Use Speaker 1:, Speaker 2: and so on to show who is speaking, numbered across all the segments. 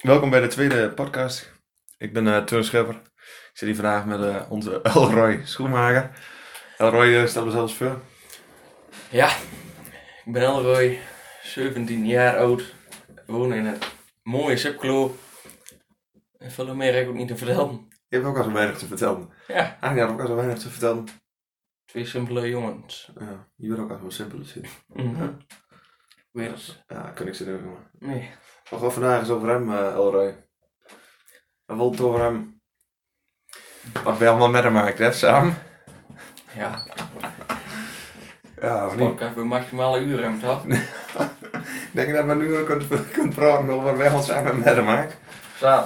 Speaker 1: Welkom bij de tweede podcast. Ik ben eh Teun Schepper. Ik zit hier vandaag met eh, onze Elroy Schoenmaker. Elroy, eh, stel mezelf eens voor.
Speaker 2: Ja, ik ben Elroy, 17 jaar oud, woon in het mooie Sipklo. En veel meer heb ik ook niet te vertellen.
Speaker 1: Je hebt ook al zo weinig te vertellen.
Speaker 2: Ja,
Speaker 1: Ah, je had ook al zo weinig te vertellen.
Speaker 2: twee simpele jongens.
Speaker 1: Ja, je bent ook al zo simpel zitten.
Speaker 2: Mhm. Weer eens.
Speaker 1: Ja, kan ik zitten ook maar.
Speaker 2: Nee.
Speaker 1: We gaan vandaag eens over hem, eh, Elroy. We willen het over hem. Wat we allemaal met hem maakt, hè, samen.
Speaker 2: Ja,
Speaker 1: Ja, of niet?
Speaker 2: ik heb een maximale uur hem toch?
Speaker 1: Ik denk dat we nu ook kunnen, kunnen praten over wat wij al samen met hem maken.
Speaker 2: Zo.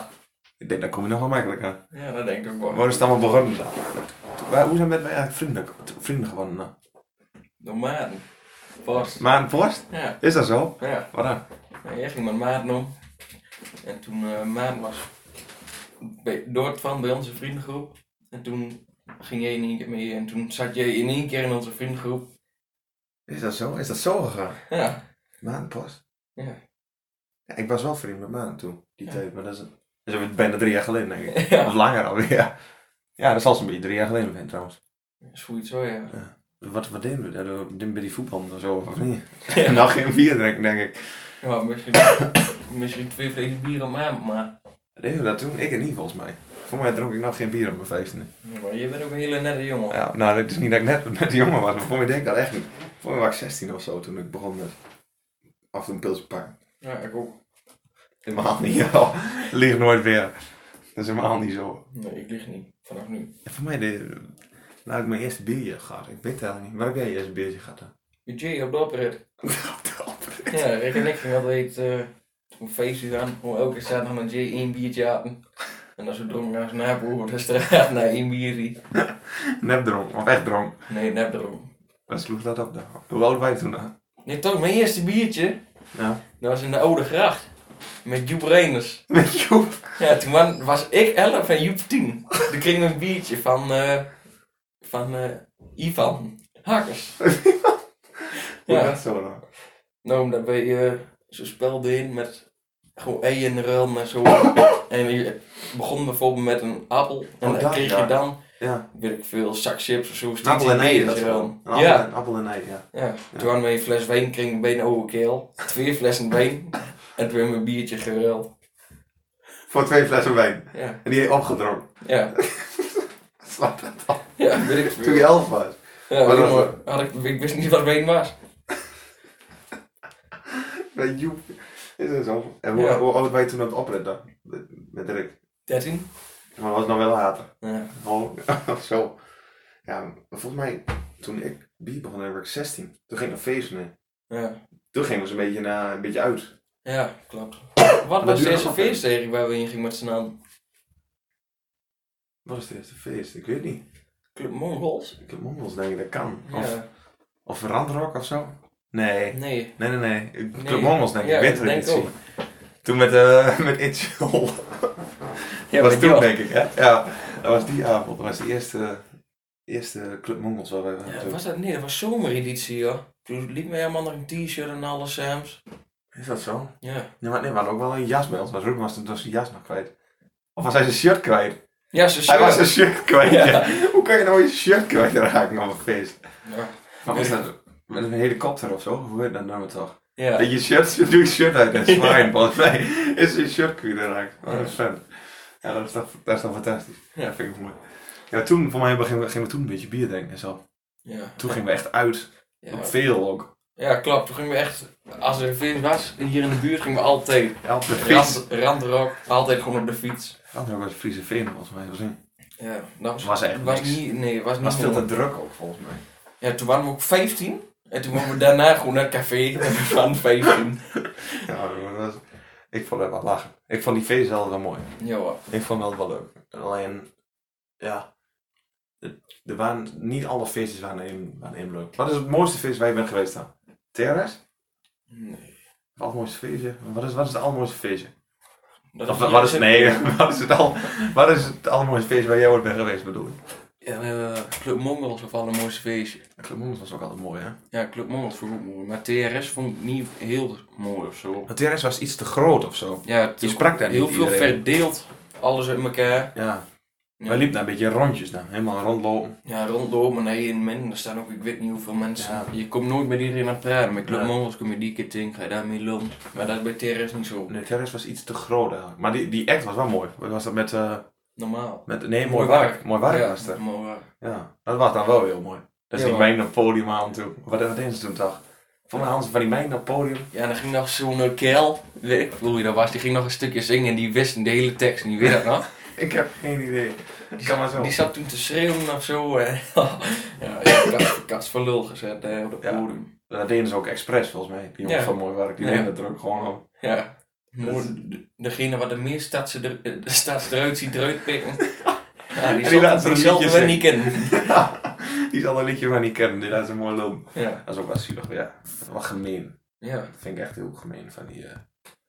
Speaker 1: Ik denk, dat kom je nogal makkelijk aan.
Speaker 2: Ja, dat denk ik ook wel.
Speaker 1: Waar is het allemaal begonnen? Waar, hoe zijn we met mij eigenlijk vrienden, vrienden geworden? Nou?
Speaker 2: Door Maarten. Vast.
Speaker 1: Maar een post?
Speaker 2: Ja,
Speaker 1: Is dat zo?
Speaker 2: ja.
Speaker 1: Wat dan?
Speaker 2: En jij ging met Maarten om. En toen eh Maarten was bij, door het van bij onze vriendengroep. En toen ging jij in één keer mee. En toen zat jij in één keer in onze vriendengroep.
Speaker 1: Is dat zo? Is dat zo gegaan?
Speaker 2: Ja,
Speaker 1: Maan post?
Speaker 2: ja.
Speaker 1: Ja, ik was wel vriend met Maan toen, die
Speaker 2: Ja.
Speaker 1: tijd. Maar dat is, dat is alweer bijna drie jaar geleden, denk ik.
Speaker 2: Ja,
Speaker 1: Of langer alweer. Ja, dat zal zo'n beetje drie jaar geleden zijn trouwens.
Speaker 2: zoiets hoor, ja.
Speaker 1: Wat, wat deden we? daar? We deden bij die voetbal of zo, of niet?
Speaker 2: Ja.
Speaker 1: Nou, geen bier drinken, denk ik.
Speaker 2: Ja, misschien, misschien twee flesjes bier om aan, maar,
Speaker 1: Deden we dat toen? Ik en niet, volgens mij. Voor mij dronk ik nog geen bier op mijn feesten.
Speaker 2: ja, maar je bent ook een hele nette jongen.
Speaker 1: Ja, nou, het is niet dat ik net, net jonger was, maar voor mij denk ik dat echt niet. Voor mij was ik 16 of zo toen ik begon met af en toe een pilsje pakken.
Speaker 2: Ja, ik ook.
Speaker 1: Helemaal niet, joh. Ligt nooit weer. Dat is helemaal niet zo.
Speaker 2: Nee, ik lieg niet. Vanaf nu.
Speaker 1: En voor mij, de, nou, ik mijn eerste biertje gehad. Ik weet het eigenlijk niet. Waar heb jij je eerste biertje gehad dan?
Speaker 2: Jay op de oprit. Ja, Rick en ik gingen altijd eh een feestje aan. Hoe elke zaterdag met Jay één biertje aten. En als we dronken naar zijn naboer op de straat naar één biertje.
Speaker 1: Nep dronk, of echt dronk.
Speaker 2: Nee, nep erom.
Speaker 1: Wat sloeg dat op dan? Hoe oud waren wij toen dan?
Speaker 2: Nee, toch, mijn eerste biertje,
Speaker 1: Ja.
Speaker 2: dat was in de Oude Gracht. Met Joep Reyners.
Speaker 1: Met Joep.
Speaker 2: Ja, toen wa- was ik 11 en Joep 10. Toen kregen we een biertje van, eh, van eh, Ivan Hakkers.
Speaker 1: Hoe
Speaker 2: Ja.
Speaker 1: dat zo dan?
Speaker 2: Nou, omdat wij eh, zo'n spel deden met gewoon ei in de ruil en zo. En je begon bijvoorbeeld met een appel. En
Speaker 1: Oh,
Speaker 2: dan
Speaker 1: dat,
Speaker 2: kreeg
Speaker 1: ja.
Speaker 2: je dan,
Speaker 1: Ja.
Speaker 2: weet ik veel, zak chips of zo.
Speaker 1: Een appel en ei, dat is wel.
Speaker 2: wel.
Speaker 1: Een appel,
Speaker 2: Ja,
Speaker 1: en- appel en ei, ja.
Speaker 2: ja. Toen hadden we een fles wijn, kregen we bijna over keel. Twee flessen wijn. En toen hebben we een biertje geruild.
Speaker 1: Voor twee flessen wijn.
Speaker 2: Ja,
Speaker 1: En die heb je opgedronken.
Speaker 2: ja.
Speaker 1: Slaat dat op.
Speaker 2: Ja, weet ik
Speaker 1: Toen
Speaker 2: veel.
Speaker 1: je elf was.
Speaker 2: Ja,
Speaker 1: Wat was
Speaker 2: maar had ik, ik wist niet wat wijn was.
Speaker 1: Bij Joep. Is dat zo? En hoe,
Speaker 2: Ja.
Speaker 1: hoe oud ben je toen aan het oprit dan? Met- Met Rick.
Speaker 2: 13?
Speaker 1: Maar dat was nog wel later.
Speaker 2: Ja.
Speaker 1: Oh, zo. Ja, maar volgens mij, toen ik bier begon, dan was ik 16. Toen ging ik naar feesten. hè.
Speaker 2: Ja,
Speaker 1: Toen gingen we eens een beetje, naar, een beetje uit.
Speaker 2: ja klopt. Wat was
Speaker 1: duurde
Speaker 2: de eerste
Speaker 1: nog even.
Speaker 2: feestserie waar we in gingen met z'n allen?
Speaker 1: Wat is het eerste feest? Ik weet niet.
Speaker 2: Club Mongols?
Speaker 1: Ik heb Mongols, denk ik, dat kan. Of,
Speaker 2: Ja.
Speaker 1: of Randrock of zo? Nee.
Speaker 2: Nee.
Speaker 1: Nee, nee, nee. Ik- Club
Speaker 2: Nee.
Speaker 1: Mongols, denk ik.
Speaker 2: Ja,
Speaker 1: Winter
Speaker 2: denk ik
Speaker 1: editie. Toen met, eh met Itchel.
Speaker 2: Ja,
Speaker 1: dat was
Speaker 2: weet
Speaker 1: toen,
Speaker 2: je wel.
Speaker 1: denk ik, hè? Ja. Dat was die avond. Dat was de eerste, eerste Club Mongols waar we
Speaker 2: Ja, was dat? Nee, dat was zomereditie, joh. Toen liep mij helemaal nog een t-shirt en alles, Sams.
Speaker 1: Is dat zo?
Speaker 2: Ja.
Speaker 1: Nee, maar nee, we hadden ook wel een jas bij ons. Maar Ruben was toen dus zijn jas nog kwijt. Of was hij zijn shirt kwijt?
Speaker 2: Ja, ze
Speaker 1: Hij was
Speaker 2: schreeuwden.
Speaker 1: zijn shirt kwijt.
Speaker 2: Ja.
Speaker 1: ja. Hoe kan je nou je shirt kwijtraken op een feest?
Speaker 2: Ja.
Speaker 1: Maar was dat met een helikopter of zo? Hoe heet dat nou toch?
Speaker 2: Ja.
Speaker 1: Dat je shirt, je doet je shirt uit en zwaaien. Volgens mij is je shirt kwijtraakt. Wat een
Speaker 2: Ja.
Speaker 1: fan. Ja, dat is toch, dat is toch fantastisch. Ja,
Speaker 2: Ja.
Speaker 1: vind ik mooi. Ja, toen, voor mij gingen we, gingen we toen een beetje bier drinken en zo.
Speaker 2: Ja.
Speaker 1: Toen gingen we echt uit.
Speaker 2: Ja.
Speaker 1: Veel ook.
Speaker 2: ja, klopt. Toen gingen we echt, als er een feest was, hier in de buurt, gingen we altijd
Speaker 1: Ja, op de fiets.
Speaker 2: rand, randrock, altijd gewoon op de fiets.
Speaker 1: Dat was een Friese veen volgens mij. Was,
Speaker 2: Ja, dat was,
Speaker 1: was echt
Speaker 2: was
Speaker 1: niks.
Speaker 2: niet, nee, was niet
Speaker 1: was veel
Speaker 2: normaal.
Speaker 1: te druk ook volgens mij.
Speaker 2: Ja, toen waren we ook 15. En toen waren we daarna gewoon naar het café. En we waren 15.
Speaker 1: Ja, maar dat was- ik vond het wel lachen. Ik vond die feest altijd wel mooi.
Speaker 2: Ja hoor.
Speaker 1: Ik vond dat wel leuk. Alleen, ja. het- Er waren, niet alle feestjes waren even, waren even leuk. Wat is het mooiste feest waar je bent geweest dan? TRS?
Speaker 2: Nee.
Speaker 1: Het allermooiste feestje? Wat is, wat is het allermooiste feestje?
Speaker 2: Dat
Speaker 1: Of wat is, nee, wat is, het al, wat is het allermooiste feest waar jij ooit bent geweest bedoel ik?
Speaker 2: Ja, we hebben eh, Club Mongols of alle mooiste feestje.
Speaker 1: Club Mongols was ook altijd mooi, hè?
Speaker 2: Ja, Club Mongols vond ik ook mooi. Maar TRS vond ik niet heel mooi of zo.
Speaker 1: Het TRS was iets te groot of zo.
Speaker 2: Ja, het
Speaker 1: Je
Speaker 2: is
Speaker 1: sprak daar niet
Speaker 2: heel veel
Speaker 1: iedereen.
Speaker 2: verdeeld. Alles uit elkaar.
Speaker 1: Ja.
Speaker 2: Ja.
Speaker 1: Wij liepen daar een beetje rondjes dan. Helemaal rondlopen.
Speaker 2: Ja, rondlopen en heen en men. Er staan ook, ik weet niet hoeveel mensen.
Speaker 1: Ja.
Speaker 2: Je komt nooit met iedereen aan het praten. Met Club
Speaker 1: Nee.
Speaker 2: Mongols kom je die keer tegen, ga je daarmee lopen. Maar dat is bij TRS niet zo
Speaker 1: Nee, TRS was iets te groot eigenlijk. Maar die, die act was wel mooi. Wat was dat met... eh,
Speaker 2: normaal.
Speaker 1: met nee, mooi,
Speaker 2: Mooi
Speaker 1: werk.
Speaker 2: Werk.
Speaker 1: Mooi werk
Speaker 2: ja,
Speaker 1: was er.
Speaker 2: mooi waar.
Speaker 1: Ja. Dat was dan wel heel mooi. Dat is
Speaker 2: Ja,
Speaker 1: die
Speaker 2: maar-
Speaker 1: mijn naar het podium aan toe. Wat wat deden ze toen toch? Van de Hansen van die mijn naar het podium.
Speaker 2: Ja, en dan ging nog zo'n eh, kerel, weet ik hoe je dat was, die ging nog een stukje zingen en die wist de hele tekst niet, weet je dat nog?
Speaker 1: Ik heb geen idee.
Speaker 2: Die,
Speaker 1: Kan maar zo.
Speaker 2: zat, die zat toen te schreeuwen of zo. En ja, ik had kast van lul gezet daar op het
Speaker 1: Ja.
Speaker 2: podium.
Speaker 1: Dat deden ze ook expres volgens mij. Die jongens
Speaker 2: Ja.
Speaker 1: van mooi werk. Die
Speaker 2: Ja.
Speaker 1: deden het er ook gewoon op.
Speaker 2: Ja.
Speaker 1: Dat is-
Speaker 2: Mooi. Degene wat de meest stadse dru- eh, stadse eruit ziet eruit pikken. Ja,
Speaker 1: En die
Speaker 2: die, zal-
Speaker 1: laat ze
Speaker 2: die
Speaker 1: een
Speaker 2: zal
Speaker 1: liedje zingen.
Speaker 2: we niet kennen.
Speaker 1: Die zal een liedje van niet kennen. Die laat ze mooi lopen.
Speaker 2: Ja.
Speaker 1: Dat is ook wel zielig. Ja. Wat gemeen.
Speaker 2: Ja,
Speaker 1: Dat vind ik echt heel gemeen van die, eh,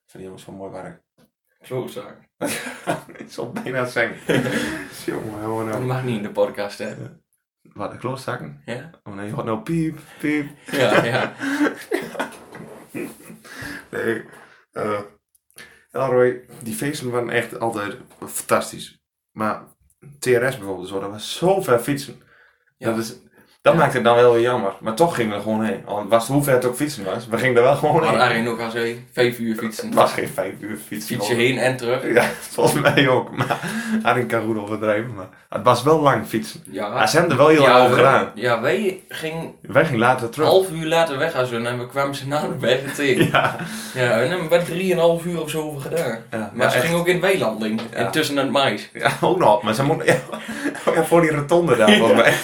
Speaker 1: van die jongens van Mooi Werk.
Speaker 2: klootzaak.
Speaker 1: ik zal bijna zeggen. jongen, hoor
Speaker 2: Dat
Speaker 1: nou.
Speaker 2: mag niet in de podcast, hè?
Speaker 1: Wat, de klootzakken?
Speaker 2: Ja?
Speaker 1: Oh nee, hoor nou piep, piep.
Speaker 2: Ja, ja.
Speaker 1: Nee. eh ja, Roy, die feesten waren echt altijd fantastisch. Maar TRS bijvoorbeeld, zo, dat was zo ver fietsen.
Speaker 2: Ja.
Speaker 1: Dat, is, dat
Speaker 2: Ja.
Speaker 1: maakt het dan wel weer jammer. Maar toch gingen we er gewoon heen. Al was het hoe ver het ook fietsen was, we gingen er wel gewoon
Speaker 2: Maar
Speaker 1: heen.
Speaker 2: Arjen ook al zei, vijf uur fietsen.
Speaker 1: Het was geen vijf uur fietsen.
Speaker 2: Fiets je heen en terug.
Speaker 1: Ja, volgens mij ook. Maar Arin kan goed overdrijven. Maar het was wel lang fietsen. Maar
Speaker 2: Ja.
Speaker 1: ze hebben er wel heel lang
Speaker 2: ja,
Speaker 1: over gedaan.
Speaker 2: we- ja, wij gingen
Speaker 1: Wij gingen later
Speaker 2: een
Speaker 1: terug.
Speaker 2: half uur later weg als hun en we kwamen ze na de bergen tegen.
Speaker 1: Ja,
Speaker 2: Ja, en hebben we drieënhalf uur of zo over gedaan.
Speaker 1: ja,
Speaker 2: Maar ze
Speaker 1: echt.
Speaker 2: ging ook in het weiland in, en tussen het mais.
Speaker 1: Ja, ook nog. Maar ze moeten... Ja, ja, voor die rotonde daar volgens mij.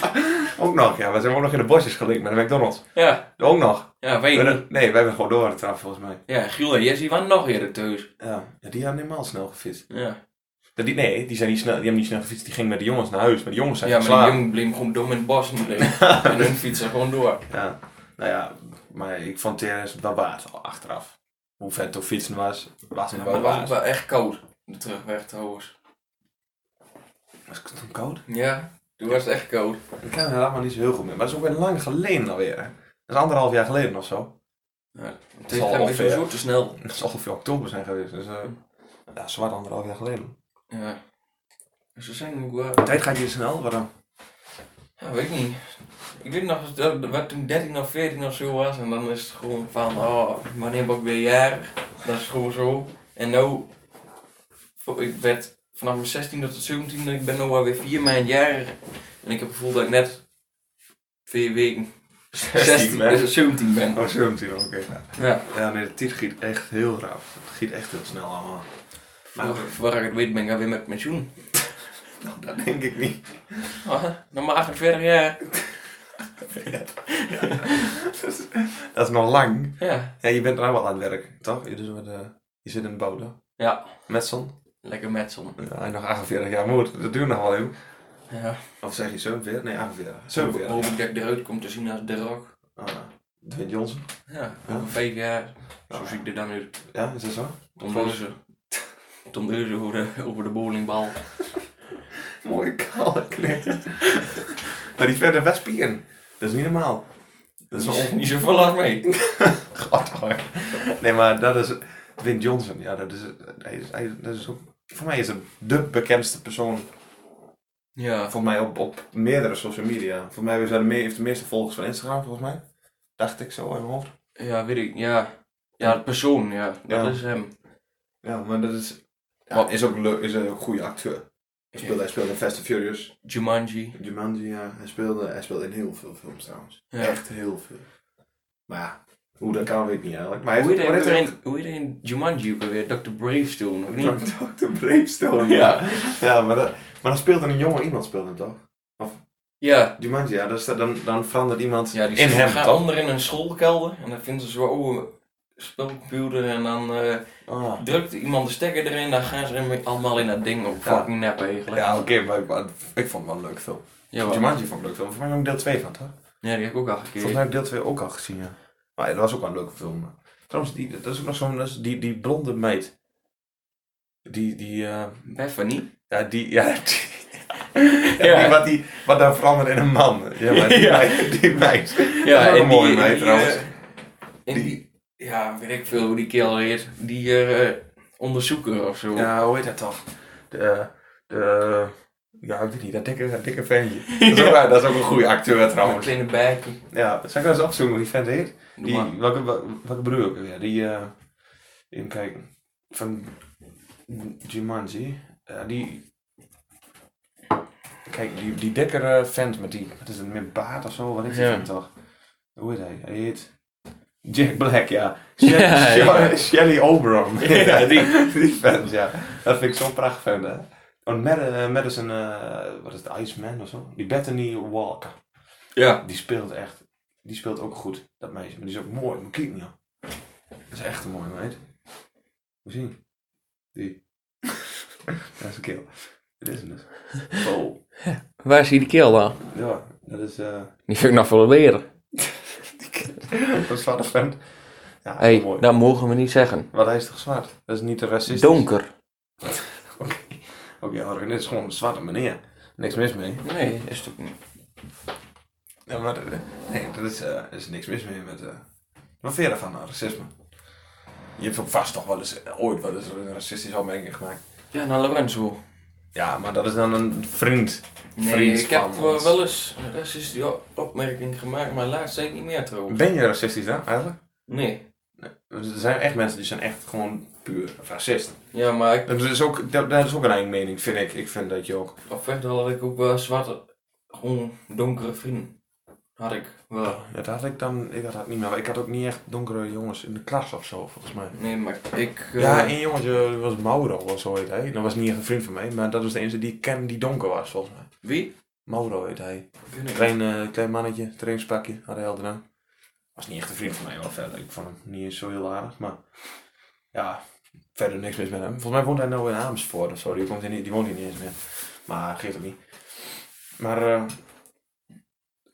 Speaker 1: Ook nog, ja. Maar ze hebben ook nog in de bosjes gelinkt met de McDonald's.
Speaker 2: Ja,
Speaker 1: Ook nog.
Speaker 2: ja
Speaker 1: We
Speaker 2: weet je.
Speaker 1: hebben- nee, wij hebben gewoon door de trap volgens mij.
Speaker 2: Ja, Giel en Jesse waren nog eerder thuis.
Speaker 1: Ja, ja, die hadden helemaal snel gefietst.
Speaker 2: Ja,
Speaker 1: Dat Die, nee, die, zijn niet snel, die hebben niet snel gefietst. Die gingen met de jongens naar huis. Maar de jongens zijn
Speaker 2: ja maar die
Speaker 1: geslapen.
Speaker 2: jongen bleef gewoon dom in het bos nu liggen. en hun fietsen gewoon door.
Speaker 1: Ja, nou ja. Maar ik vond TRS wel waard achteraf. Hoe ver het ook fietsen was, was het
Speaker 2: Maar
Speaker 1: wel
Speaker 2: het was
Speaker 1: waard.
Speaker 2: wel echt koud, de terugweg trouwens.
Speaker 1: Was het toen koud? Ja.
Speaker 2: Ja, toen was het echt koud.
Speaker 1: Ik ken het allemaal niet zo heel goed meer. Maar dat is ook weer lang geleden alweer. Hè? Dat is anderhalf jaar geleden of zo.
Speaker 2: Het
Speaker 1: zal
Speaker 2: is een beetje
Speaker 1: ongeveer-
Speaker 2: zo te snel.
Speaker 1: Dat zal ongeveer oktober zijn geweest. Dus eh, ja, zwaar anderhalf jaar geleden.
Speaker 2: Ja. Ze zijn ook wel...
Speaker 1: De tijd gaat hier snel, waarom?
Speaker 2: Ja, weet ik niet. Ik weet nog dat wat toen 13 of 14 of zo was en dan is het gewoon van, oh, wanneer ben ik weer jarig? Dat is gewoon zo. En nou, vo- ik werd vanaf mijn 16 tot 17, ik ben nou nu alweer 4 maanden jarig. En ik heb het gevoel dat ik net 4 weken 16
Speaker 1: ben.
Speaker 2: tot 17 ben.
Speaker 1: Oh, 17, oké. Ja.
Speaker 2: Ja,
Speaker 1: Ja, nee, de tijd giet echt heel rauw. Het giet echt heel snel allemaal. Maar
Speaker 2: voor, voor ik het weet ben ik alweer met pensioen.
Speaker 1: nou, dat denk ik niet.
Speaker 2: Ah, nog maar 48 jaar.
Speaker 1: Dat is nog lang.
Speaker 2: Ja,
Speaker 1: Ja, je bent nou wel aan het werk, toch? Je, doet met, eh, je zit in de bouw, toch?
Speaker 2: Ja.
Speaker 1: Met zon?
Speaker 2: lekker met zon.
Speaker 1: Ja, hij nog 48 jaar moet. Dat duurt nog wel even.
Speaker 2: Ja,
Speaker 1: Of zeg je 47? Nee, 48.
Speaker 2: hoop ik dat ik eruit kom te zien als de rock.
Speaker 1: Ah, Dwayne Johnson.
Speaker 2: Ja,
Speaker 1: Ja.
Speaker 2: over 5 jaar. Zo
Speaker 1: Ah.
Speaker 2: zie ik er dan uit.
Speaker 1: Ja, is dat zo?
Speaker 2: Tom Deuze. Tom Deuze over de, over de bowlingbal.
Speaker 1: Mooie kale knecht. maar die verder wel spieren. Dat is niet normaal. Dat is wel
Speaker 2: niet zoveel lang mee.
Speaker 1: ongehad hoor. Nee, maar dat is... Win Johnson, ja, dat is... Hij is, hij, dat is ook, voor mij is het de bekendste persoon.
Speaker 2: Ja,
Speaker 1: Voor mij op, op meerdere social media. Voor mij heeft hij de me- heeft de meeste volgers van Instagram, volgens mij. Dacht ik zo in mijn hoofd.
Speaker 2: ja, weet ik. Ja, ja de persoon, ja. Dat
Speaker 1: Ja.
Speaker 2: is hem.
Speaker 1: Ja, maar dat is... Ja,
Speaker 2: Wat-
Speaker 1: is ook leuk. Is een goede acteur. Hij speelde, hij speelde in Fast and Furious.
Speaker 2: Jumanji.
Speaker 1: Jumanji, ja. Hij speelde, hij speelde in heel veel films trouwens.
Speaker 2: Ja.
Speaker 1: Echt heel veel. Maar ja, hoe dat kan weet ik niet eigenlijk. Maar hij
Speaker 2: Hoe heet
Speaker 1: heeft,
Speaker 2: hij
Speaker 1: maar
Speaker 2: ook
Speaker 1: hij
Speaker 2: weer
Speaker 1: heeft
Speaker 2: in- hoe heet hij in Jumanji ook weer? Dr. Bravestone, of
Speaker 1: ook
Speaker 2: niet?
Speaker 1: Dr. Bravestone. Ja, ja maar, dat, maar dan speelt er een jongen iemand speelt hem toch?
Speaker 2: Ja.
Speaker 1: Jumanji, ja, dat is- dan, dan verandert iemand
Speaker 2: Ja, die
Speaker 1: in hem
Speaker 2: gaat
Speaker 1: toch?
Speaker 2: onder in een schoolkelder en dan vinden ze zo'n oude spelcomputer en dan eh,
Speaker 1: Ah.
Speaker 2: drukt iemand de stekker erin dan gaan ze hem allemaal in dat ding op.
Speaker 1: Ja.
Speaker 2: Fucking nep eigenlijk.
Speaker 1: Ja, oké, maar, maar ik vond het wel een leuk film.
Speaker 2: Ja, wel.
Speaker 1: Jumanji vond ik een leuk film. Volgens mij ook deel 2 van, toch?
Speaker 2: ja, die heb ik ook al
Speaker 1: Volgens
Speaker 2: gekeken.
Speaker 1: mij heb ik deel 2 ook al gezien, ja. Maar ja, dat was ook wel een leuke film. Trouwens, die, dat is ook nog zo'n... dat is Die, die blonde meid. Die, die, eh,
Speaker 2: Beth van niet.
Speaker 1: Ja, die, ja, die, En
Speaker 2: Ja.
Speaker 1: die, wat, die, wat dan verandert in een man. Ja, maar die
Speaker 2: Ja.
Speaker 1: meid. Die meid.
Speaker 2: Ja,
Speaker 1: Dat is wel
Speaker 2: en
Speaker 1: een mooie
Speaker 2: die, en
Speaker 1: meid
Speaker 2: die,
Speaker 1: trouwens.
Speaker 2: eh, en die, ja, weet ik veel hoe die kerel heet. Die eh, onderzoeker of zo.
Speaker 1: Ja, hoe heet dat toch? De, de, ja, ik weet niet, dat dikke, dat dikke ventje. Dat, is ook, wel- dat is ook een goede acteur
Speaker 2: Een
Speaker 1: trouwens.
Speaker 2: kleine bijk.
Speaker 1: Ja, zou ik wel eens opzoeken hoe die vent heet?
Speaker 2: Doe
Speaker 1: Die,
Speaker 2: maar.
Speaker 1: welke, welke, welke bedoel je ook weer? Die, eh even kijken, van Jumanji. Ja, die, kijk, die, die dikkere vent met die, wat is het, met baard of zo? Wat is die
Speaker 2: Ja.
Speaker 1: vent toch? Hoe heet hij? Hij heet... Jack Black, ja. Shelley,
Speaker 2: Ja, ja.
Speaker 1: Shelley Oberon.
Speaker 2: Ja, die.
Speaker 1: Die fans, ja. Dat vind ik zo'n prachtig fan, hè. En Mad- eh, Madison, eh, wat is het, Iceman of zo? Die Bethany Walker.
Speaker 2: Ja.
Speaker 1: Die speelt echt, die speelt ook goed, dat meisje. Maar die is ook mooi, maar kijk niet aan. Dat is echt een mooie meid. Moet je zien. Die. dat is een keel. Dit is hem dus. Oh.
Speaker 2: Waar is die kerel dan?
Speaker 1: Ja, dat is, eh
Speaker 2: Die vind ik nog voor leren.
Speaker 1: dat is zwarte fan. Ja,
Speaker 2: Hé, hey, nou-
Speaker 1: mooi.
Speaker 2: dat mogen we niet zeggen.
Speaker 1: Wat hij is toch zwart? Dat is niet te racistisch.
Speaker 2: Donker.
Speaker 1: Oké, Oké, Arjen, dit is gewoon een zwarte meneer. Niks mis mee.
Speaker 2: Nee, is het ook niet.
Speaker 1: Ja, maar eh, nee, er is, eh, er is niks mis mee met. eh, wat vind je daarvan, nou, racisme? Je hebt ook vast toch wel eens eh, ooit wel eens een racistische opmerking gemaakt.
Speaker 2: Ja, naar Lorenzo.
Speaker 1: Ja, maar dat is dan een vriend.
Speaker 2: Nee,
Speaker 1: Vriend
Speaker 2: ik heb
Speaker 1: van
Speaker 2: eh,
Speaker 1: ons.
Speaker 2: wel eens een racistische opmerking gemaakt, maar laatst zei ik niet meer trouwens.
Speaker 1: Ben je racistisch dan eigenlijk?
Speaker 2: Nee.
Speaker 1: Er zijn echt mensen die zijn echt gewoon puur racisten.
Speaker 2: Ja, maar ik,
Speaker 1: Dat is ook, dat, dat is ook een eigen mening, vind ik. Ik vind dat je ook.
Speaker 2: op verder had ik ook wel zwarte, gewoon donkere vrienden. Had ik wel.
Speaker 1: Ja, dat had ik dan. Ik had dat niet meer. Ik had ook niet echt donkere jongens in de klas of zo, volgens mij.
Speaker 2: Nee, maar ik... eh,
Speaker 1: Ja, één jongetje die was Mauro of zo heet hij. Dat was niet echt een vriend van mij, maar dat was de enige die ik ken die donker was, volgens mij.
Speaker 2: Wie?
Speaker 1: Mauro heet hij.
Speaker 2: Ik weet niet.
Speaker 1: Klein, eh, klein mannetje, trainingspakje, had hij al daarna. Was niet echt een vriend van mij, wel verder. Ik vond hem niet eens zo heel aardig, maar ja, verder niks mis met hem. Volgens mij woont hij nou in Amersfoort of zo, die, komt hier niet, die woont hier niet eens meer. Maar geeft het niet. Maar eh,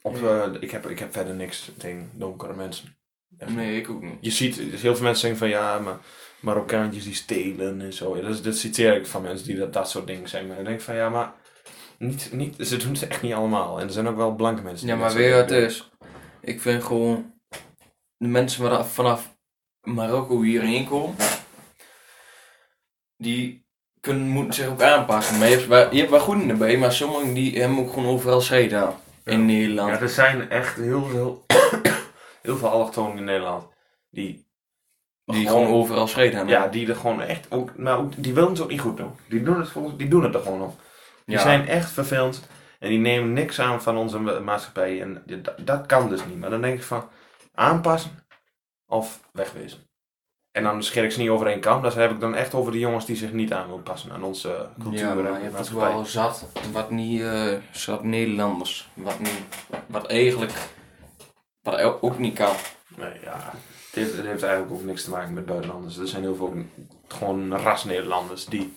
Speaker 1: op, eh, ik, heb, ik heb verder niks tegen donkere mensen. Echt
Speaker 2: Nee, ik ook niet.
Speaker 1: je ziet, dus heel veel mensen zeggen van ja, maar Marokkaantjes die stelen en zo. Ja, dat, is- dat citeer ik van mensen die dat, dat soort dingen zeggen. Maar dan denk ik van ja, maar niet, niet, ze doen het echt niet allemaal. En er zijn ook wel blanke mensen. die
Speaker 2: Ja, maar
Speaker 1: dat
Speaker 2: weet
Speaker 1: soort
Speaker 2: je wat
Speaker 1: dingen
Speaker 2: het is? Ik vind gewoon de mensen vanaf, vanaf Marokko hierheen komen, die kunnen, moeten zich ook aanpassen. Maar je hebt, wel- je hebt wel goed erbij, maar sommigen die hebben ook gewoon overal scheid aan. In
Speaker 1: doen.
Speaker 2: Nederland.
Speaker 1: Ja, er zijn echt heel veel, heel veel allochtonen in Nederland die,
Speaker 2: die gewoon overal scheid aan
Speaker 1: ja,
Speaker 2: hebben.
Speaker 1: die er gewoon echt ook, nou, ook- die willen het ook niet goed doen. Die doen het, volgens, die doen het er gewoon nog. Die
Speaker 2: Ja.
Speaker 1: zijn echt vervelend en die nemen niks aan van onze ma- maatschappij. En d- dat, kan dus niet. Maar dan denk ik van aanpassen of wegwezen. En dan scheer ik ze niet over één kam. Dat heb ik dan echt over de jongens die zich niet aan willen passen aan onze eh, cultuur
Speaker 2: Ja, maar je
Speaker 1: en
Speaker 2: hebt het
Speaker 1: maatschappij.
Speaker 2: wel zat, wat niet, eh, zat Nederlanders, wat niet, wat eigenlijk, wat el- ook niet kan.
Speaker 1: Nee, ja. Het heeft, het heeft eigenlijk ook niks te maken met buitenlanders. Er zijn heel veel gewoon ras Nederlanders die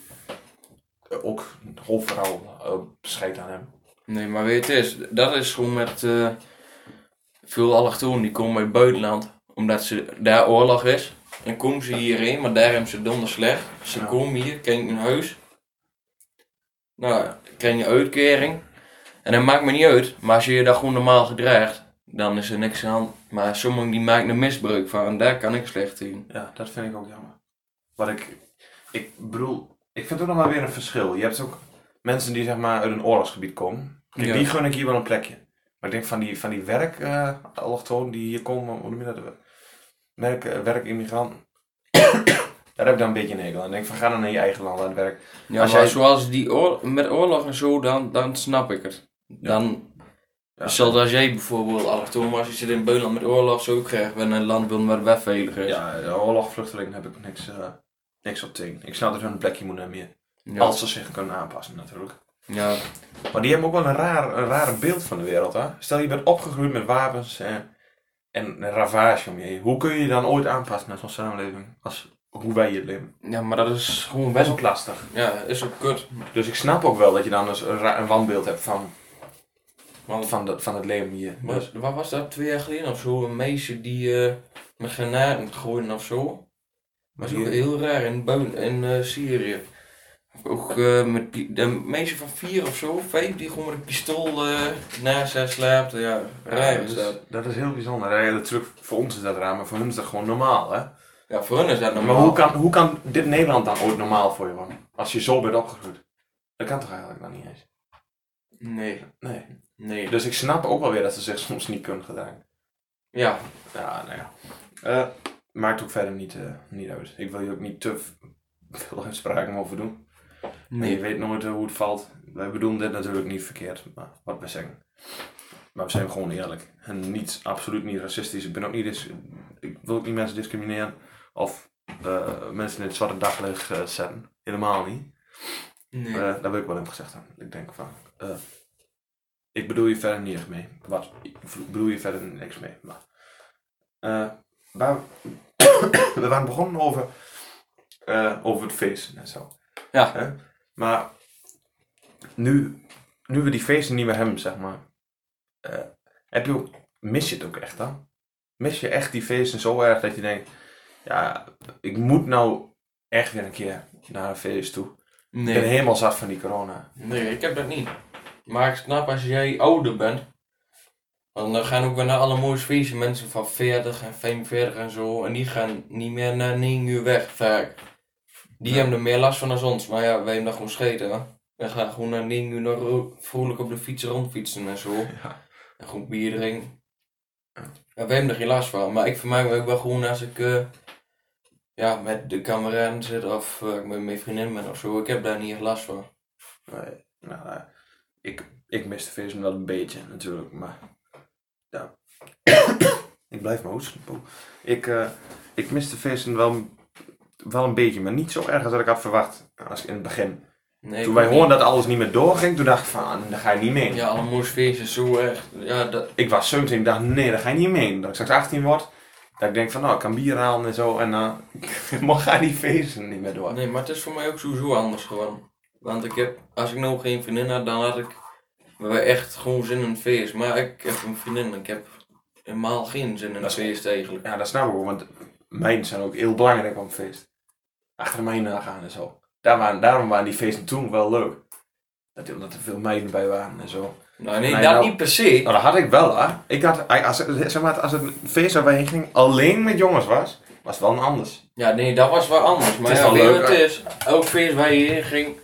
Speaker 1: eh, ook overal eh, scheid aan hebben.
Speaker 2: Nee, maar weet je, het is, dat is gewoon met eh, veel allochtonen die komen uit het buitenland, omdat ze, daar oorlog is. En komen ze hierheen, maar daar hebben ze donder slecht. Ze
Speaker 1: Ja.
Speaker 2: komen hier, krijgen een huis. Nou, krijgen je uitkering. En dat maakt me niet uit, maar als je je daar gewoon normaal gedraagt, dan is er niks aan. de hand. Maar sommigen die maken er misbruik van en daar kan ik slecht in.
Speaker 1: Ja, dat vind ik ook jammer. Wat ik, ik bedoel, ik vind ook nog maar weer een verschil. Je hebt ook mensen die zeg maar uit een oorlogsgebied komen. Kijk,
Speaker 2: Ja.
Speaker 1: die gun ik hier wel een plekje. Maar ik denk van die, van die werk, eh allochtonen die hier komen, hoe noem je dat? Werk, eh, werkimmigranten. Daar heb ik dan een beetje een hekel aan. Ik denk van ga dan naar je eigen land aan het werk.
Speaker 2: Ja,
Speaker 1: Als
Speaker 2: maar
Speaker 1: jij-
Speaker 2: zoals die oorlog, met oorlog en zo, dan, dan snap ik het. Dan
Speaker 1: Ja.
Speaker 2: Stel dat Dus jij bijvoorbeeld allochtoon was, je zit in buitenland met oorlog, zo krijg je een land wil waar weg veilig is.
Speaker 1: Ja, de oorlogvluchtelingen heb ik niks, eh, niks op tegen. Ik snap dat hun een plekje moeten hebben hier.
Speaker 2: Ja.
Speaker 1: Als ze zich kunnen aanpassen natuurlijk.
Speaker 2: Ja.
Speaker 1: Maar die hebben ook wel een raar, een raar beeld van de wereld. Hè? Stel je bent opgegroeid met wapens en, en een ravage om je heen. Hoe kun je je dan ooit aanpassen naar zo'n samenleving als hoe wij hier leven?
Speaker 2: ja, maar dat is gewoon
Speaker 1: Best
Speaker 2: best
Speaker 1: ook lastig.
Speaker 2: Ja, is ook kut.
Speaker 1: Dus ik snap ook wel dat je dan dus een, ra- een wanbeeld hebt van,
Speaker 2: Want
Speaker 1: van, de, van het leven hier. Dus,
Speaker 2: wat, wat was dat twee jaar geleden of zo? Een meisje die eh, met granaten gooide of zo.
Speaker 1: maar
Speaker 2: Dat is
Speaker 1: hier,
Speaker 2: ook heel raar in, buiten, in eh, Syrië. Ook eh, met pi- de meisje van vier of zo, vijf, die gewoon met een pistool eh, naast haar slaapt. Ja, raar dus-
Speaker 1: dat,
Speaker 2: is dat.
Speaker 1: is, dat is heel bijzonder. Ja, natuurlijk, voor ons is dat raar, maar voor hun is dat gewoon normaal, hè?
Speaker 2: Ja, voor hun is dat normaal.
Speaker 1: Maar hoe kan, hoe kan dit Nederland dan ooit normaal voor je worden? Als je zo bent opgegroeid. Dat kan toch eigenlijk dan niet eens?
Speaker 2: Nee,
Speaker 1: Nee.
Speaker 2: nee.
Speaker 1: Dus ik snap ook wel weer dat ze zich soms niet kunnen gedragen.
Speaker 2: Ja,
Speaker 1: Ja, nou ja. Eh, maakt ook verder niet, eh, niet uit. Ik wil hier ook niet te v- veel uitspraken over doen. Je
Speaker 2: nee.
Speaker 1: weet nooit eh, hoe het valt. Wij bedoelen dit natuurlijk niet verkeerd, maar wat we zeggen. Maar we zijn gewoon eerlijk. En niet, absoluut niet racistisch. Ik ben ook niet... Dis- ik wil ook niet mensen discrimineren. Of eh, mensen in het zwarte daglicht eh, zetten. Helemaal niet.
Speaker 2: Nee.
Speaker 1: Eh, daar wil ik wel in gezegd hebben. Ik denk van. eh, ik bedoel je verder niet echt mee. Wat? Ik v- bedoel je verder niks mee. Maar. eh, waar, we waren begonnen over. eh, over het feest en zo.
Speaker 2: Ja.
Speaker 1: Hè? Maar. Nu, nu we die feesten niet meer hebben, zeg maar. eh, heb je ook, mis je het ook echt dan? Mis je echt die feesten zo erg dat je denkt. Ja, ik moet nou echt weer een keer naar een feest toe. Ik ben
Speaker 2: nee.
Speaker 1: helemaal zat van die corona.
Speaker 2: Nee, ik heb dat niet. Maar ik snap als jij ouder bent. Want dan gaan ook weer naar alle mooie feesten. Mensen van 40 en 45 en zo. En die gaan niet meer na 9 uur weg vaak. Die
Speaker 1: Ja.
Speaker 2: hebben er meer last van dan ons. Maar ja, wij hebben dat gewoon scheten. hè. We gaan gewoon na 9 uur nog ro- vrolijk op de fiets rondfietsen en zo.
Speaker 1: Ja.
Speaker 2: En goed bier drinken.
Speaker 1: Ja.
Speaker 2: Ja, wij hebben er geen last van. Maar ik vermaak me ook wel gewoon als ik eh, ja, met de kameraden zit. Of eh, ik met mijn vriendin ben of zo. Ik heb daar niet echt last van.
Speaker 1: Nee, nou, eh, ik, ik mis de feest wel een beetje natuurlijk, maar ja. ik blijf maar hoesten. poeh. Ik, eh, ik mis de feesten wel, wel een beetje, maar niet zo erg als dat ik had verwacht als ik in het begin.
Speaker 2: Nee,
Speaker 1: toen
Speaker 2: ik
Speaker 1: wij
Speaker 2: ook
Speaker 1: hoorden dat alles niet meer doorging, toen dacht ik van, ah, daar ga je niet mee.
Speaker 2: niet. Ja, alle moesfeest is zo echt. Ja, dat,
Speaker 1: Ik was 17 ik dacht, nee, daar ga je niet mee. Dat ik straks 18 word, dat ik denk van, nou, ik kan bier halen en zo en dan mag gaan die feesten niet meer door.
Speaker 2: nee, maar het is voor mij ook sowieso anders gewoon. Want ik heb, als ik nou geen vriendin had, dan had ik wel echt gewoon zin in een feest. Maar ik heb een vriendin en ik heb helemaal geen zin in een
Speaker 1: Dat is-
Speaker 2: feest eigenlijk.
Speaker 1: Ja, dat snap ik wel, want mijn zijn ook heel belangrijk op een feest. Achter mij nagaan en zo. Daar waren, daarom waren die feesten toen wel leuk. Dat, omdat er veel meiden bij waren en zo.
Speaker 2: Nou, nee,
Speaker 1: Nee,
Speaker 2: dat
Speaker 1: nou-
Speaker 2: niet per se.
Speaker 1: Nou, dat had ik wel, hè. Ik had, als, zeg maar, als het een feest waar wij heen gingen alleen met jongens was, was het wel een anders.
Speaker 2: Ja, nee, dat was wel anders. Maar
Speaker 1: Het is wel
Speaker 2: ja, weet je
Speaker 1: leuk,
Speaker 2: wat het is, elk feest waar je heen ging,